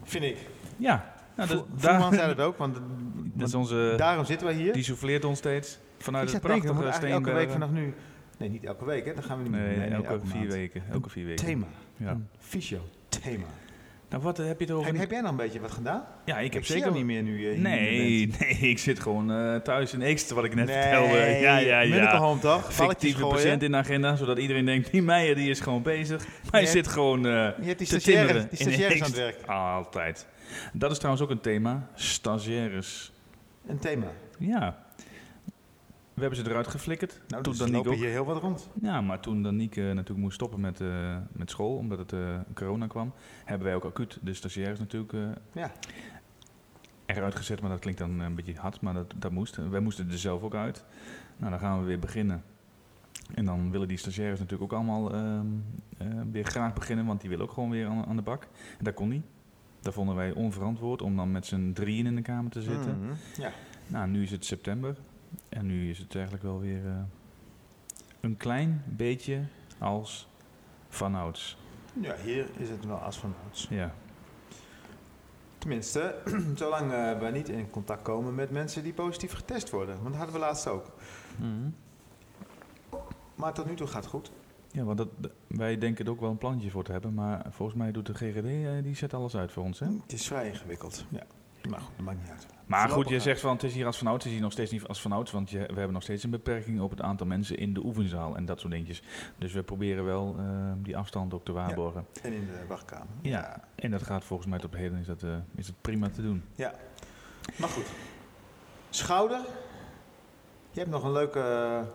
S4: Vind ik.
S3: ja. Nou, dat,
S4: Vo-
S3: daar-
S4: Voelman zei dat ook, want,
S3: <laughs> dat is
S4: want
S3: onze,
S4: daarom zitten wij hier.
S3: die souffleert ons steeds. Vanuit
S4: ik
S3: het
S4: zat te denken, we moeten
S3: prachtige
S4: eigenlijk elke week
S3: Steenbergen.
S4: vanaf nu... Nee, niet elke week, hè. Dan gaan we niet meer.
S3: Nee, elke
S4: maand.
S3: vier weken. Elke vier weken.
S4: Thema. Hmm.
S3: Ja.
S4: Een Fysio-thema.
S3: Nou, wat eh, heb je het over?
S4: Heb, heb jij nog een beetje wat gedaan?
S3: ja, ik heb
S4: zie
S3: zeker
S4: jou niet meer nu. eh, hier
S3: Nee,
S4: in de
S3: nee, ik zit gewoon eh, thuis in Eekster, wat ik net
S4: band.
S3: vertelde. Ja, ja,
S4: Medical
S3: ja.
S4: home, toch? Balletjes
S3: Fictieve
S4: gooien.
S3: patiënt in de agenda, zodat iedereen denkt, die Meijer die is gewoon bezig. Maar hij
S4: Ja.
S3: zit gewoon eh,
S4: Je hebt die
S3: te
S4: stagiaires,
S3: timmeren
S4: die
S3: in
S4: stagiaires aan het
S3: Eekster.
S4: werk.
S3: Altijd. Dat is trouwens ook een thema, stagiaires.
S4: Een thema.
S3: Ja. We hebben ze eruit geflikkerd.
S4: Nou,
S3: toen
S4: dus
S3: dan
S4: lopen
S3: ook.
S4: hier heel wat rond.
S3: Ja, maar toen Danique eh, natuurlijk moest stoppen met, eh, met school, omdat het eh, corona kwam, hebben wij ook acuut de stagiaires natuurlijk eh,
S4: Ja.
S3: eruit gezet. Maar dat klinkt dan een beetje hard, maar dat, dat moest. Wij moesten er zelf ook uit. Nou, dan gaan we weer beginnen. En dan willen die stagiaires natuurlijk ook allemaal ehm, eh, weer graag beginnen, want die willen ook gewoon weer aan, aan de bak. En dat kon niet. Dat vonden wij onverantwoord om dan met z'n drieën in de kamer te zitten.
S4: Mhm. Ja.
S3: Nou, nu is het september. En nu is het eigenlijk wel weer eh, een klein beetje als vanouds.
S4: ja, hier is het wel als van ouds.
S3: Ja.
S4: Tenminste, <clears throat> zolang eh, we niet in contact komen met mensen die positief getest worden. Want dat hadden we laatst ook.
S3: Mhm.
S4: Maar tot nu toe gaat het goed.
S3: Ja, want dat, d- wij denken er ook wel een plantje voor te hebben. Maar volgens mij doet de GGD, eh, die zet alles uit voor ons, hè?
S4: Het is vrij ingewikkeld. Ja. Maar goed, dat maakt niet uit.
S3: Maar goed, je
S4: Voorlopig
S3: zegt van het is hier als vanouds. Het is hier nog steeds niet als vanouds, want je, we hebben nog steeds een beperking op het aantal mensen in de oefenzaal en dat soort dingetjes. Dus we proberen wel eh, die afstand ook te waarborgen.
S4: gaat- En in de wachtkamer.
S3: Ja. En dat gaat volgens mij tot op heden is dat, eh, is dat prima te doen.
S4: Ja. Maar goed. Schouder. Je hebt nog een leuke eh,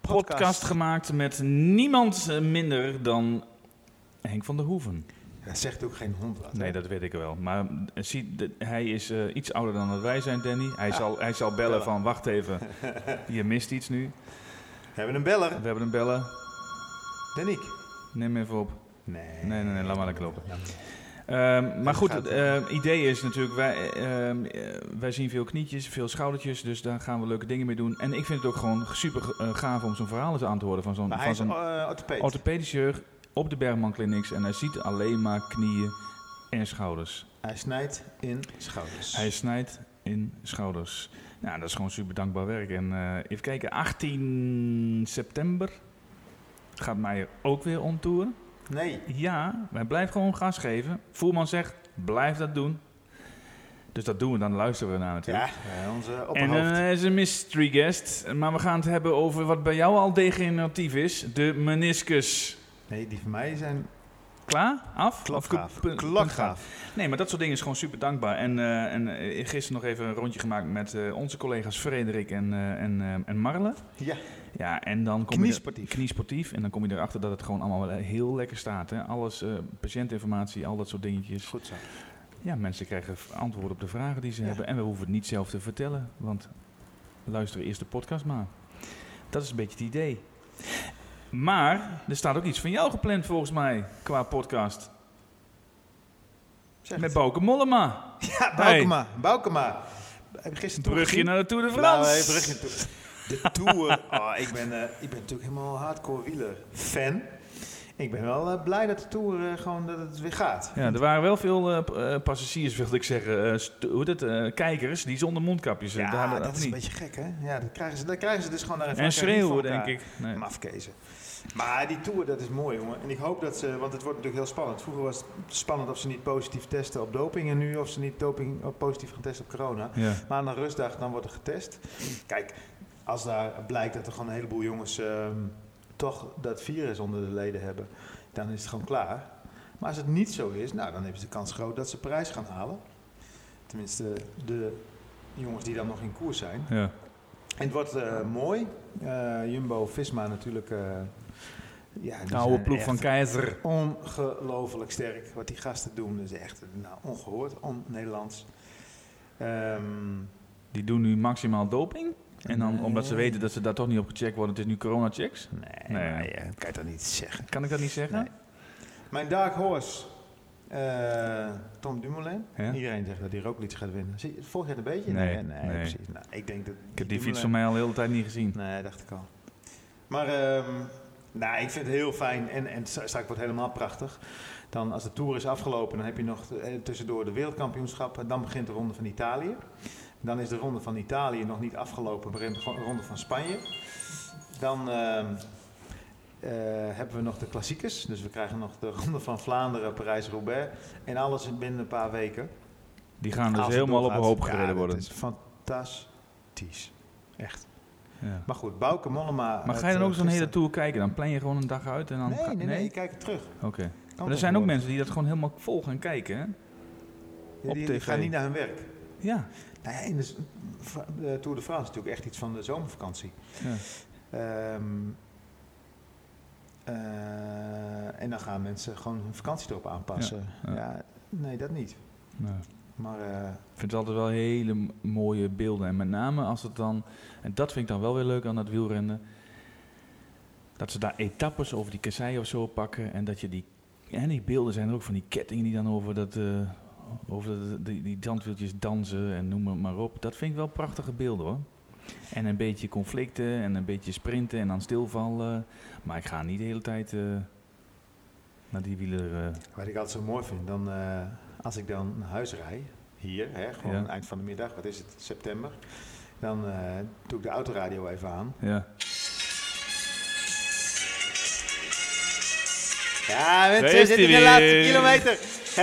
S3: podcast, gemaakt met niemand eh, minder dan Henk van der Hoeven.
S4: Dat zegt ook geen hond wat. hè?
S3: Nee, dat weet ik wel. Maar eh, zie, de- hij is eh, iets ouder dan dat wij zijn, Danny. Hij, zal, hij zal bellen
S4: Ah. bellen.
S3: van, wacht
S4: <laughs>
S3: even, je mist iets nu.
S4: We hebben een beller.
S3: We hebben hem bellen,
S4: Daniek.
S3: neem hem even op.
S4: Nee.
S3: Nee, nee, nee, laat maar lekker lopen. Ehm, maar goed, het eh, idee is natuurlijk, wij, ehm, eh, wij zien veel knietjes, veel schoudertjes, dus daar gaan we leuke dingen mee doen. En ik vind het ook gewoon super eh, gaaf om zo'n verhaal eens aan te horen van zo'n...
S4: Maar hij
S3: van
S4: is eh,
S3: zo'n-
S4: een orthopeed.
S3: orthopedisch chirurg op de Bergman Clinics en hij ziet alleen maar knieën en schouders.
S4: Hij snijdt in schouders.
S3: Hij snijdt in schouders. Nou, dat is gewoon super dankbaar werk. En eh, even kijken, 18 september gaat Meijer ook weer on tour.
S4: Nee.
S3: Ja, wij blijven gewoon gas geven. Voerman zegt, blijf dat doen. Dus dat doen we, dan luisteren we naar natuurlijk.
S4: Ja, eh, onze
S3: En
S4: opperhoofd.
S3: dan is een mystery guest, maar we gaan het hebben over wat bij jou al degeneratief is, de meniscus.
S4: nee, die van mij zijn
S3: Klaar? Af?
S4: klokgaaf.
S3: Of pu- pu-
S4: Klokgaaf.
S3: Nee, maar dat soort dingen is gewoon super dankbaar. En, eh, en eh, gisteren nog even een rondje gemaakt met eh, onze collega's Frederik en, eh, en, eh, en Marle.
S4: Ja.
S3: Ja, en dan kom
S4: Kniesportief.
S3: Je er, kniesportief. En dan kom je erachter dat het gewoon allemaal wel eh, heel lekker staat. Hè? Alles, eh, patiëntinformatie, al dat soort dingetjes.
S4: Goed zo.
S3: Ja, mensen krijgen v- antwoorden op de vragen die ze
S4: Ja.
S3: hebben. En we hoeven het niet zelf te vertellen. Want luister eerst de podcast maar. Dat is een beetje het idee. Maar er staat ook iets van jou gepland volgens mij qua podcast.
S4: Zeg
S3: Met
S4: <laughs> het.
S3: Bouke Mollema.
S4: Ja, Boukema. Boukema. Heb je gisteren
S3: Brugje naar de Tour de
S4: Nou,
S3: France.
S4: hey, brugje toe. De Tour. Oh, ik, ben, eh, ik ben natuurlijk helemaal hardcore wieler fan. Ik ben wel eh, blij dat de Tour eh, gewoon dat het weer gaat.
S3: Ja, er waren wel veel eh, p- eh, passagiers, wilde ik zeggen. eh, st- hoe dat, eh, kijkers die zonder mondkapjes. eh,
S4: Ja,
S3: daar hadden
S4: dat is
S3: niet.
S4: een beetje gek, hè? Ja, dat krijgen ze, dat krijgen ze dus gewoon naar
S3: En schreeuwen, denk
S4: eh,
S3: ik. Nee.
S4: Mafkezen. Maar die Tour, dat is mooi, jongen. En ik hoop dat ze... Want het wordt natuurlijk heel spannend. Vroeger was het spannend of ze niet positief testen op doping... en nu of ze niet doping, of positief gaan testen op corona.
S3: Ja.
S4: Maar na rustdag, dan wordt er getest. Kijk, als daar blijkt dat er gewoon een heleboel jongens ehm, toch dat virus onder de leden hebben, dan is het gewoon klaar. Maar als het niet zo is, nou, dan hebben ze de kans groot dat ze prijs gaan halen. Tenminste, de jongens die dan nog in koers zijn.
S3: Ja.
S4: En het wordt eh, mooi. Eh, Jumbo, Visma natuurlijk. eh ja, die
S3: De oude
S4: zijn
S3: ploeg
S4: echt
S3: van Keizer.
S4: Ongelooflijk sterk. Wat die gasten doen is echt nou, ongehoord, on-Nederlands. Ehm
S3: Die doen nu maximaal doping. En dan, omdat ze
S4: Nee.
S3: weten dat ze daar toch niet op gecheckt worden, het is nu corona-checks.
S4: Nee,
S3: Nee.
S4: maar je kan je dat niet zeggen.
S3: Kan ik dat niet zeggen?
S4: Mijn Dark Horse Eh, Tom Dumoulin.
S3: Ja?
S4: Iedereen zegt dat hij Roglic gaat winnen. Zie, je, vorig jaar een beetje?
S3: Nee,
S4: nee, nee,
S3: nee.
S4: precies. Nou, ik denk dat
S3: Ik heb die
S4: Dumoulin-
S3: fiets van mij al de hele tijd niet gezien.
S4: Nee, dacht ik al. Maar ehm, nou, ik vind het heel fijn en, en straks wordt het helemaal prachtig. Dan als de Tour is afgelopen, dan heb je nog eh, tussendoor de wereldkampioenschappen. Dan begint de ronde van Italië. Dan is de ronde van Italië nog niet afgelopen, begint de gro- ronde van Spanje. Dan ehm, eh, hebben we nog de klassiekers. Dus we krijgen nog de <laughs> ronde van Vlaanderen, Parijs-Roubaix. En alles in binnen een paar weken.
S3: Die gaan dus
S4: Als het
S3: helemaal op een
S4: doorgaat.
S3: hoop
S4: Ja,
S3: gereden
S4: dat
S3: worden.
S4: is fantastisch. Echt.
S3: Ja.
S4: Maar goed, Bouke Mollema...
S3: Maar ga
S4: het,
S3: je dan ook
S4: eh,
S3: zo'n hele
S4: gisteren-
S3: tour kijken? Dan plan je gewoon een dag uit en dan...
S4: Nee,
S3: ga-
S4: nee, nee, kijk het terug.
S3: Oké. Maar er zijn ook mensen die dat gewoon helemaal vol gaan kijken, hè?
S4: die,
S3: op
S4: die
S3: TV.
S4: gaan niet naar hun werk.
S3: Ja.
S4: Nou ja, in de, z- v- de Tour de France is natuurlijk echt iets van de zomervakantie.
S3: Ja.
S4: Ehm, eh, en dan gaan mensen gewoon hun vakantie erop aanpassen.
S3: Ja,
S4: Ja,
S3: ja.
S4: nee, dat niet.
S3: Nou,
S4: Maar eh,
S3: Ik vind het altijd wel hele m- mooie beelden. En met name als het dan... En dat vind ik dan wel weer leuk aan dat wielrennen. Dat ze daar etappes over die kassei of zo pakken. En dat je die... En die beelden zijn er ook van die kettingen die dan over dat... eh, over dat- die, die zandwieltjes dansen en noem het maar op. Dat vind ik wel prachtige beelden, hoor. En een beetje conflicten en een beetje sprinten en dan stilvallen. Maar ik ga niet de hele tijd eh, naar die wieler... eh,
S4: wat ik altijd zo mooi vind, dan, eh, als ik dan naar huis rijd, hier, hè, gewoon
S3: Ja.
S4: eind van de middag, wat is het, september. Dan eh, doe ik de autoradio even aan.
S3: ja.
S4: Ja,
S3: Daar
S4: mensen, we
S3: is
S4: zitten in de
S3: hij
S4: laatste
S3: weer.
S4: kilometer.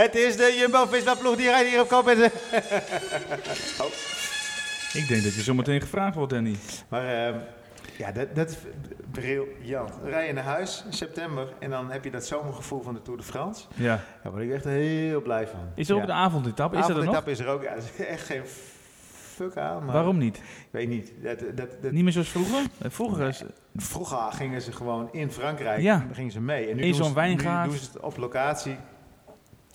S4: Het is de Jumbo-Visma-ploeg die rijdt hier op kop. En
S3: Ik denk dat je zometeen gevraagd wordt, Andy.
S4: Maar ehm, ja, dat, dat is briljant. Rijden naar huis in september en dan heb je dat zomergevoel van de Tour de France.
S3: Ja.
S4: Daar word ik echt heel blij van.
S3: Is er ook
S4: ja.
S3: de avondetappe? Is dat er nog?
S4: Avondetappe is er ook. Ja, er is echt geen fuck aan. Maar
S3: Waarom niet?
S4: Ik weet niet. Dat, dat, dat,
S3: Niet meer zoals vroeger? Eh, Vroeger is...
S4: Vroeger gingen ze gewoon in Frankrijk
S3: Ja.
S4: gingen ze mee. En nu,
S3: In
S4: doen
S3: zo'n
S4: ze,
S3: wijngaard.
S4: nu doen ze het op locatie.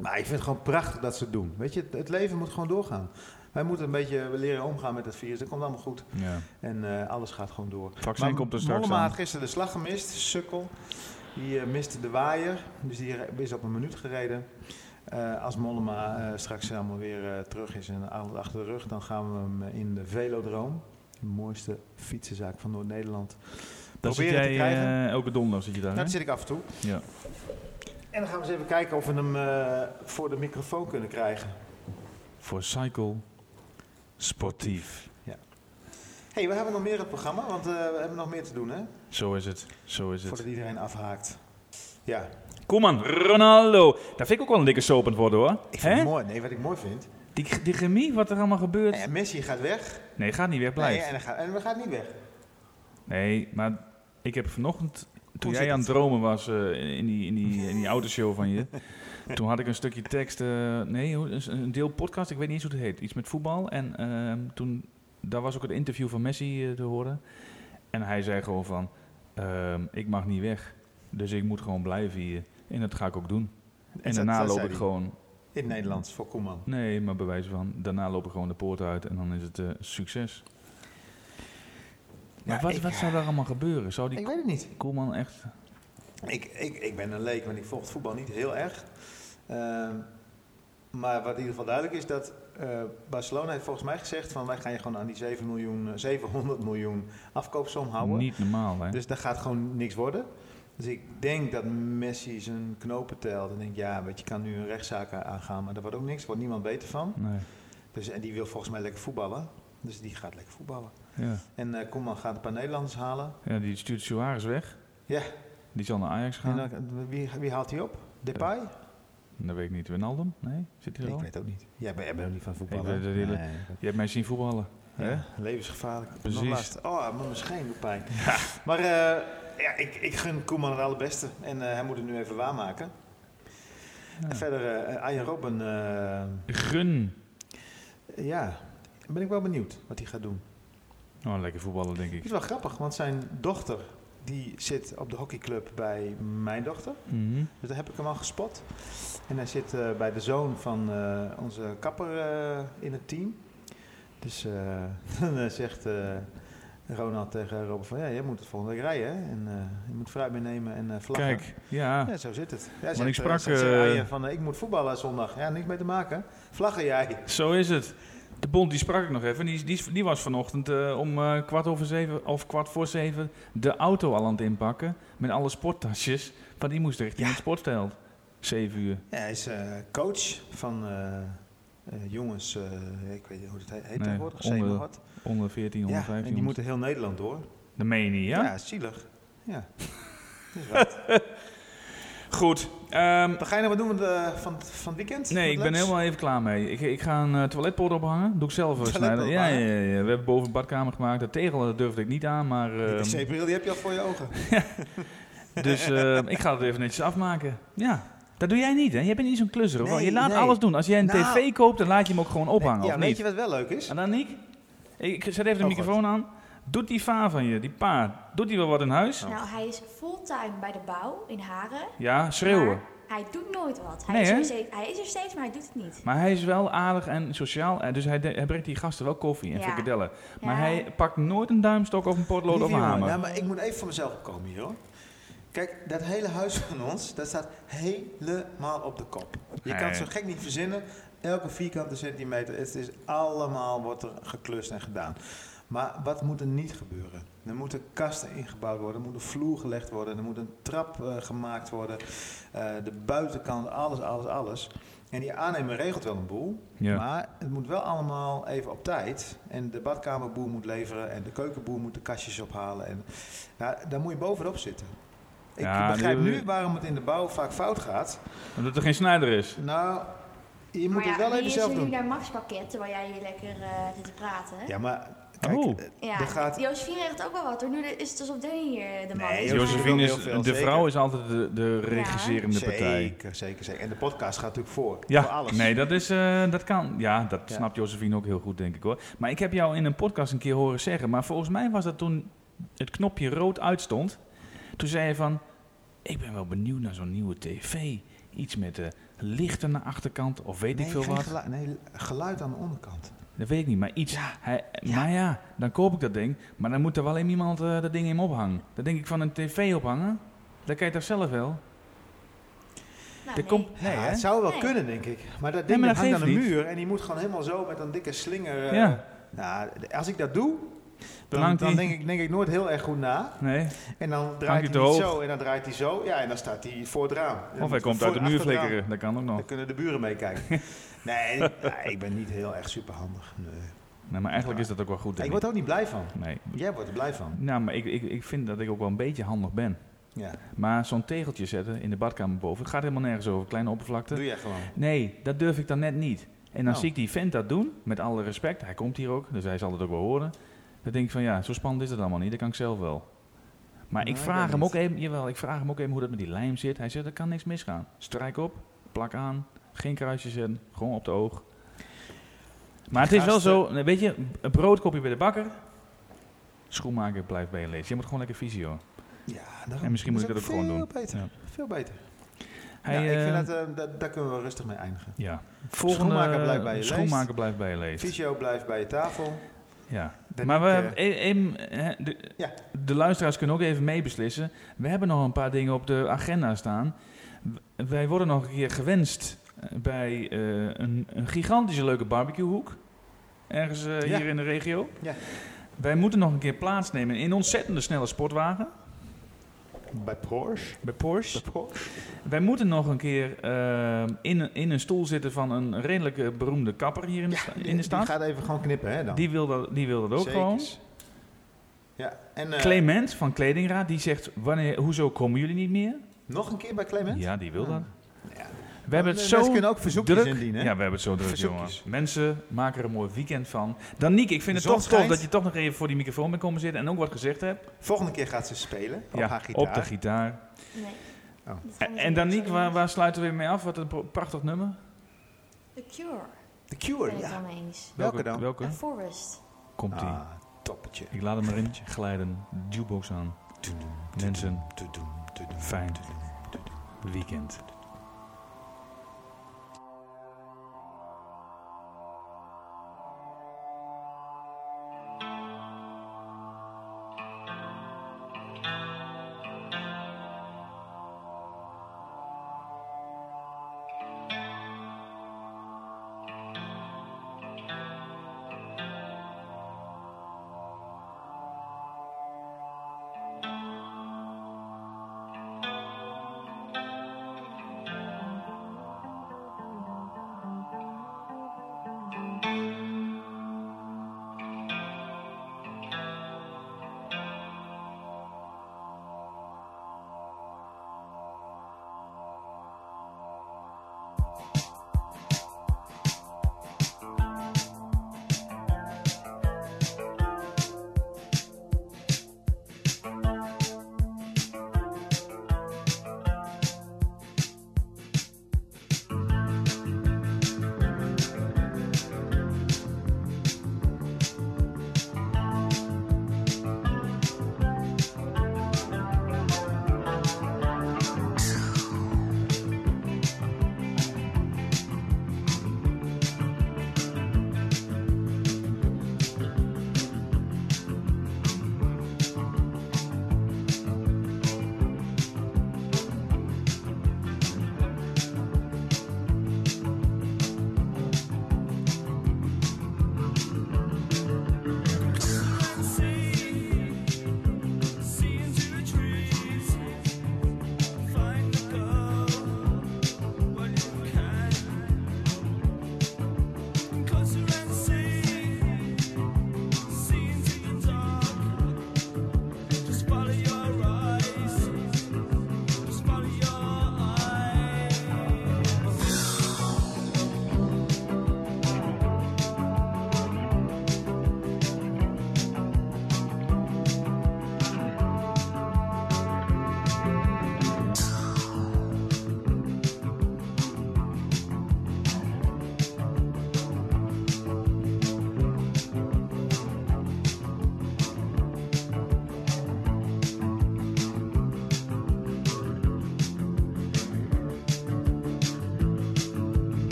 S4: Maar ik vind het gewoon prachtig dat ze het doen. Weet je, het, het leven moet gewoon doorgaan. Wij moeten een beetje leren omgaan met dat virus. Dat komt allemaal goed.
S3: Ja.
S4: En eh, alles gaat gewoon door.
S3: Vaccin komt er straks
S4: Mollema
S3: aan.
S4: had gisteren de slag gemist. Sukkel. Die eh, miste de waaier. Dus die re- is op een minuut gereden. Eh, als Mollema eh, straks allemaal weer eh, terug is en alles achter de rug... dan gaan we hem eh, in de Velodroom. De mooiste fietsenzaak van Noord-Nederland.
S3: Dan zit
S4: proberen te
S3: jij
S4: krijgen.
S3: eh, elke donderdag zit je daar,
S4: Dat
S3: hè?
S4: zit ik af en toe.
S3: Ja.
S4: En dan gaan we eens even kijken of we hem eh, voor de microfoon kunnen krijgen.
S3: Voor Cycle Sportief.
S4: Hé, hey, we hebben nog meer in het programma, want eh, we hebben nog meer te doen, hè?
S3: Zo is het. Zo is het.
S4: Voordat iedereen afhaakt. Ja,
S3: Kom aan, Ronaldo. Daar vind ik ook wel een dikke soap aan het worden, hoor.
S4: ik vind
S3: Hè?
S4: het mooi. Nee, wat ik mooi vind.
S3: Die, die chemie, wat er allemaal gebeurt.
S4: Eh, Messi gaat weg.
S3: Nee, gaat niet weg,
S4: Nee, en,
S3: blijft.
S4: hij gaat, en we gaan niet weg.
S3: Nee, maar ik heb vanochtend... Toen
S4: Hoe
S3: jij
S4: zit
S3: aan het
S4: het?
S3: dromen was eh, in, die, in, die, in die autoshow van
S4: <laughs>
S3: je... toen had ik een stukje tekst... eh, nee, hoe- een- een deel podcast. Ik weet niet eens hoe het heet. Iets met voetbal. En ehm, toen... Daar was ook het interview van Messi eh, te horen. En hij zei gewoon van... ehm, ik mag niet weg. Dus ik moet gewoon blijven hier. En dat ga ik ook doen. En,
S4: dat-
S3: daarna
S4: dat
S3: loop
S4: zei
S3: ik
S4: hij.
S3: gewoon...
S4: In het Nederlands, voor Koeman.
S3: Nee, maar bij wijze van... Daarna loop ik gewoon de poort uit. En dan is het eh, succes. Maar
S4: Ja,
S3: wat,
S4: ik-
S3: wat zou daar allemaal gebeuren? Zou die
S4: Ik weet het niet.
S3: Koelman echt...
S4: Ik, ik, ik ben een leek, want ik volg het voetbal niet heel erg. Ehm, maar wat in ieder geval duidelijk is, dat eh, Barcelona heeft volgens mij gezegd van wij gaan je gewoon aan die 7 miljoen, eh, 700 miljoen afkoopsom houden.
S3: Niet normaal, hè?
S4: Dus daar gaat gewoon niks worden. Dus ik denk dat Messi zijn knopen telt. En denk, ja, weet je, je kan nu een rechtszaak a- aangaan, maar daar wordt ook niks. wordt niemand beter van.
S3: Nee.
S4: Dus, en die wil volgens mij lekker voetballen. Dus die gaat lekker voetballen.
S3: Ja.
S4: En eh Koeman gaat een paar Nederlanders halen.
S3: ja, die stuurt Suarez weg.
S4: Ja,
S3: Die zal naar Ajax gaan.
S4: en dan, wie, wie haalt hij op? Depay?
S3: Dat weet ik niet. Wijnaldum? Nee? Zit hij er
S4: ik
S3: al?
S4: weet het ook niet. Jij bent, jij bent ook niet van voetballen.
S3: weet het hele-
S4: Nee.
S3: Je hebt mij zien voetballen. Hè?
S4: Ja, levensgevaarlijk. Nog
S3: Precies.
S4: last. Oh, maar misschien doet pijn. Maar eh, ja, ik, ik gun Koeman het allerbeste. En eh, hij moet het nu even waarmaken. En verder, eh, Arjen Robben, eh,
S3: Gun.
S4: ja, ben ik wel benieuwd wat hij gaat doen.
S3: Oh, lekker voetballen, denk
S4: Het
S3: ik.
S4: is wel grappig, want zijn dochter die zit op de hockeyclub bij mijn dochter.
S3: Mhm.
S4: Dus daar heb ik hem al gespot. En hij zit eh, bij de zoon van eh, <laughs> onze kapper eh, in het team. Dus eh, dan eh, zegt eh, Ronald tegen Robert van, ja, jij moet het volgende week rijden. Hè? En eh, je moet fruit meenemen en eh vlaggen.
S3: Kijk, ja.
S4: Ja, zo zit het. Ja,
S3: ik sprak, eh,
S4: je van, eh, ik moet voetballen zondag. Ja, niks mee te maken. Vlaggen jij.
S3: Zo is het. De bond die sprak ik nog even. Die, die, die was vanochtend eh, om eh, kwart over zeven of kwart voor zeven de auto al aan het inpakken. Met alle sporttasjes. Want die moest richting het sportveld. Zeven uur.
S4: Ja, hij is eh, coach van eh, eh, jongens, eh, ik weet niet hoe het heet, heet
S3: Nee,
S4: tegenwoordig,
S3: onder-
S4: zeg maar wat.
S3: Onder 14, onder
S4: Ja,
S3: 15.
S4: en die moeten heel Nederland door.
S3: Dat meen je niet, ja?
S4: zielig.
S3: <laughs>
S4: Ja. Is wat.
S3: Goed. ehm,
S4: Dan ga je nog wat doen van, de- van, het- van het weekend?
S3: nee,
S4: Wat
S3: ik ben
S4: leuks?
S3: helemaal even klaar mee. Ik, ik ga een eh, toiletpot ophangen. Doe ik zelf wel
S4: Toiletpot
S3: snijden. Ja, ja,
S4: ophangen?
S3: ja, ja. We hebben boven een badkamer gemaakt. Dat tegel dat durfde ik niet aan.
S4: <laughs>
S3: Maar,
S4: Die
S3: ehm,
S4: wc-bril, die heb je al voor je ogen.
S3: dus ehm, ik ga het even netjes afmaken. Ja. Dat doe jij niet, hè? Jij bent niet zo'n klusser, hoor.
S4: Nee,
S3: je laat
S4: nee.
S3: alles doen. Als jij een
S4: Nou.
S3: tv koopt, dan laat je hem ook gewoon ophangen,
S4: ja,
S3: of
S4: weet
S3: niet?
S4: je wat wel leuk is?
S3: En dan Niek? Ik zet even de
S4: Oh,
S3: microfoon aan. Doet die va van je, die pa, doet die wel wat in huis?
S7: Nou, hij is fulltime bij de bouw in Haren.
S3: Ja, schreeuwen.
S7: maar hij doet nooit wat. Hij,
S3: Nee,
S7: is
S3: hè?
S7: er steeds, hij is er steeds, maar hij doet het niet.
S3: Maar hij is wel aardig en sociaal. eh, Dus hij, de- hij brengt die gasten wel koffie en
S7: Ja.
S3: frikadellen. Maar
S7: Ja.
S3: hij pakt nooit een duimstok of een potlood of
S4: Lieve
S3: een
S4: jongen,
S3: hamer.
S4: Nou, maar ik moet even voor mezelf komen hier, hoor. Kijk, dat hele huis van ons, dat staat helemaal op de kop. Je kan het zo
S3: Nee.
S4: gek niet verzinnen. Elke vierkante centimeter, het is allemaal wordt er geklust en gedaan. Maar wat moet er niet gebeuren? Er moeten kasten ingebouwd worden, er moet een vloer gelegd worden, er moet een trap eh, gemaakt worden, eh, de buitenkant, alles, alles, alles. En die aannemer regelt wel een boel,
S3: Ja.
S4: maar het moet wel allemaal even op tijd. En de badkamerboer moet leveren en de keukenboer moet de kastjes ophalen. En, ja, daar moet je bovenop zitten. Ik
S3: Ja,
S4: begrijp
S3: die-
S4: nu waarom het in de bouw vaak fout gaat.
S3: Omdat er geen snijder is.
S4: Nou, je moet
S7: maar
S4: het
S7: ja,
S4: wel even
S7: wie
S4: zelf
S7: is er nu
S4: doen.
S7: naar Max pakket, terwijl jij hier lekker eh, zit te praten?
S4: Ja, maar kijk,
S3: Oh.
S4: eh,
S7: Ja,
S4: er gaat...
S7: Josephine regelt ook wel wat hoor. Nu is het alsof Danny hier eh, de man
S4: Nee,
S7: is.
S4: Josephine
S3: Josephine
S4: doet
S3: is,
S4: heel veel,
S3: de
S4: zeker.
S3: vrouw is altijd de, de regisserende partij.
S4: Zeker, zeker, zeker. En de podcast gaat natuurlijk voor. Voor
S3: Ja,
S4: alles.
S3: nee, dat, is, eh, dat kan. Ja, dat
S4: Ja.
S3: snapt Josephine ook heel goed, denk ik hoor. Maar ik heb jou in een podcast een keer horen zeggen, maar volgens mij was dat toen het knopje rood uitstond. Toen zei je van, ik ben wel benieuwd naar zo'n nieuwe tv. Iets met eh, lichten naar achterkant of weet
S4: Nee,
S3: ik veel
S4: geen
S3: wat.
S4: geluid, nee, geluid aan de onderkant.
S3: Dat weet ik niet, maar iets. Hij, eh, Maar ja, dan koop ik dat ding. Maar dan moet er wel iemand eh, dat ding in ophangen. Dan denk ik van een tv ophangen. Dan kan je toch zelf wel.
S4: Ah,
S7: Nou,
S3: Er
S7: nee.
S3: komt, nee,
S4: Ja,
S3: hè?
S4: het zou wel
S7: Nee.
S4: kunnen, denk ik. Maar dat ding
S3: maar dat
S4: hangt aan
S3: geeft
S4: de
S3: niet.
S4: muur en die moet gewoon helemaal zo met een dikke slinger... eh,
S3: Ja.
S4: Nou, als ik dat doe, dan, dan,
S3: hangt die-
S4: denk, ik, denk ik nooit heel erg goed na.
S3: Nee.
S4: En dan
S3: hij
S4: draait
S3: te
S4: hij niet
S3: hoog?
S4: zo en dan draait hij zo. Ja, en dan staat hij voor het raam. En dan
S3: Of hij
S4: moeten
S3: komt
S4: we
S3: uit de
S4: voor-
S3: muur
S4: achter het raam.
S3: flikkeren. Dat kan ook nog.
S4: Dan kunnen de buren
S3: <laughs>
S4: meekijken. nee, ja, ik ben niet heel erg superhandig. Nee.
S3: Nee, maar eigenlijk is dat ook wel goed.
S4: Ik
S3: Denk
S4: word
S3: ik.
S4: er ook niet blij van.
S3: Nee.
S4: Jij wordt er blij van.
S3: Nou, maar ik, ik, ik vind dat ik ook wel een beetje handig ben.
S4: Ja,
S3: Maar zo'n tegeltje zetten in de badkamer boven, het gaat helemaal nergens over. Kleine oppervlakte.
S4: doe jij gewoon.
S3: Nee, dat durf ik dan net niet. En dan
S4: Oh.
S3: zie ik die vent dat doen, met alle respect. Hij komt hier ook, dus hij zal het ook wel horen. Dan denk ik van ja, zo spannend is het allemaal niet. Dat kan ik zelf wel. Maar
S4: Nou,
S3: ik
S4: ik
S3: vraag
S4: weet
S3: hem
S4: niet.
S3: ook even, jawel, ik vraag hem ook even hoe dat met die lijm zit. Hij zegt, er kan niks misgaan. Strijk op, plak aan, geen kruisjes in, gewoon op de oog. Maar het is wel zo, nee, weet je, een broodkopje bij de bakker. Schoenmaker blijft bij je lezen. Je moet gewoon lekker visio.
S4: Ja, daarom.
S3: En misschien moet
S4: is
S3: ik dat ook gewoon
S4: Veel beter.
S3: Ja.
S4: Veel beter.
S3: Hij,
S4: ja, ik
S3: eh,
S4: vind dat, eh, dat, daar kunnen we rustig mee eindigen.
S3: ja.
S4: Schoenmaker blijft bij je leest.
S3: Schoenmaker blijft bij je leest.
S4: Fysio blijft bij je tafel.
S3: Ja,
S4: Dan
S3: maar we
S4: ik, eh,
S3: hebben e- em- hè, de,
S4: Ja.
S3: de luisteraars kunnen ook even meebeslissen. We hebben nog een paar dingen op de agenda staan. W- Wij worden nog een keer gewenst eh, bij eh, een, een gigantische leuke barbecuehoek. Ergens eh,
S4: Ja.
S3: hier in de regio.
S4: Ja.
S3: Wij moeten nog een keer plaatsnemen in een ontzettende snelle sportwagen.
S4: Bij Porsche.
S3: Bij Porsche.
S4: Bij Porsche.
S3: Wij moeten nog een keer eh, in, een- in een stoel zitten van een redelijk eh, beroemde kapper hier in de, sta- in de
S4: Die
S3: stad.
S4: gaat even gewoon knippen, hè dan.
S3: Die wil dat, die wil dat ook gewoon.
S4: Zekers. Ja, en eh,
S3: Clement van Kledingraad die zegt: wanneer, Hoezo komen jullie niet meer?
S4: nog een keer bij Clement?
S3: Ja, die wil dat.
S4: Ja.
S3: We hebben het
S4: Mensen
S3: zo
S4: kunnen ook verzoekjes
S3: druk.
S4: indienen, hè?
S3: Ja, we hebben het zo druk,
S4: Verzoekjes.
S3: jongen. Mensen, maken er een mooi weekend van. Dan Niek, ik vind
S4: De
S3: het
S4: zon
S3: toch tof
S4: schijnt.
S3: dat je toch nog even voor die microfoon bent komen zitten en ook wat gezegd hebt.
S4: Volgende keer gaat ze spelen op haar gitaar.
S3: op de gitaar.
S7: Nee.
S4: Oh.
S7: Dat gaan
S3: En,
S7: we
S3: en
S7: doen.
S3: dan Niek, waar, waar sluiten we mee af? Wat een pro- prachtig nummer.
S7: The Cure,
S3: Oh,
S4: The Cure,
S7: ben ik
S4: ja.
S7: dan mee eens.
S4: Welke dan?
S3: Welke?
S7: The Forest.
S3: Komt ie.
S4: Ah, toppetje.
S3: Ik laat hem erin glijden. Jukebox aan. Mensen,
S4: Tudum, tudum, tudum.
S3: fijn weekend.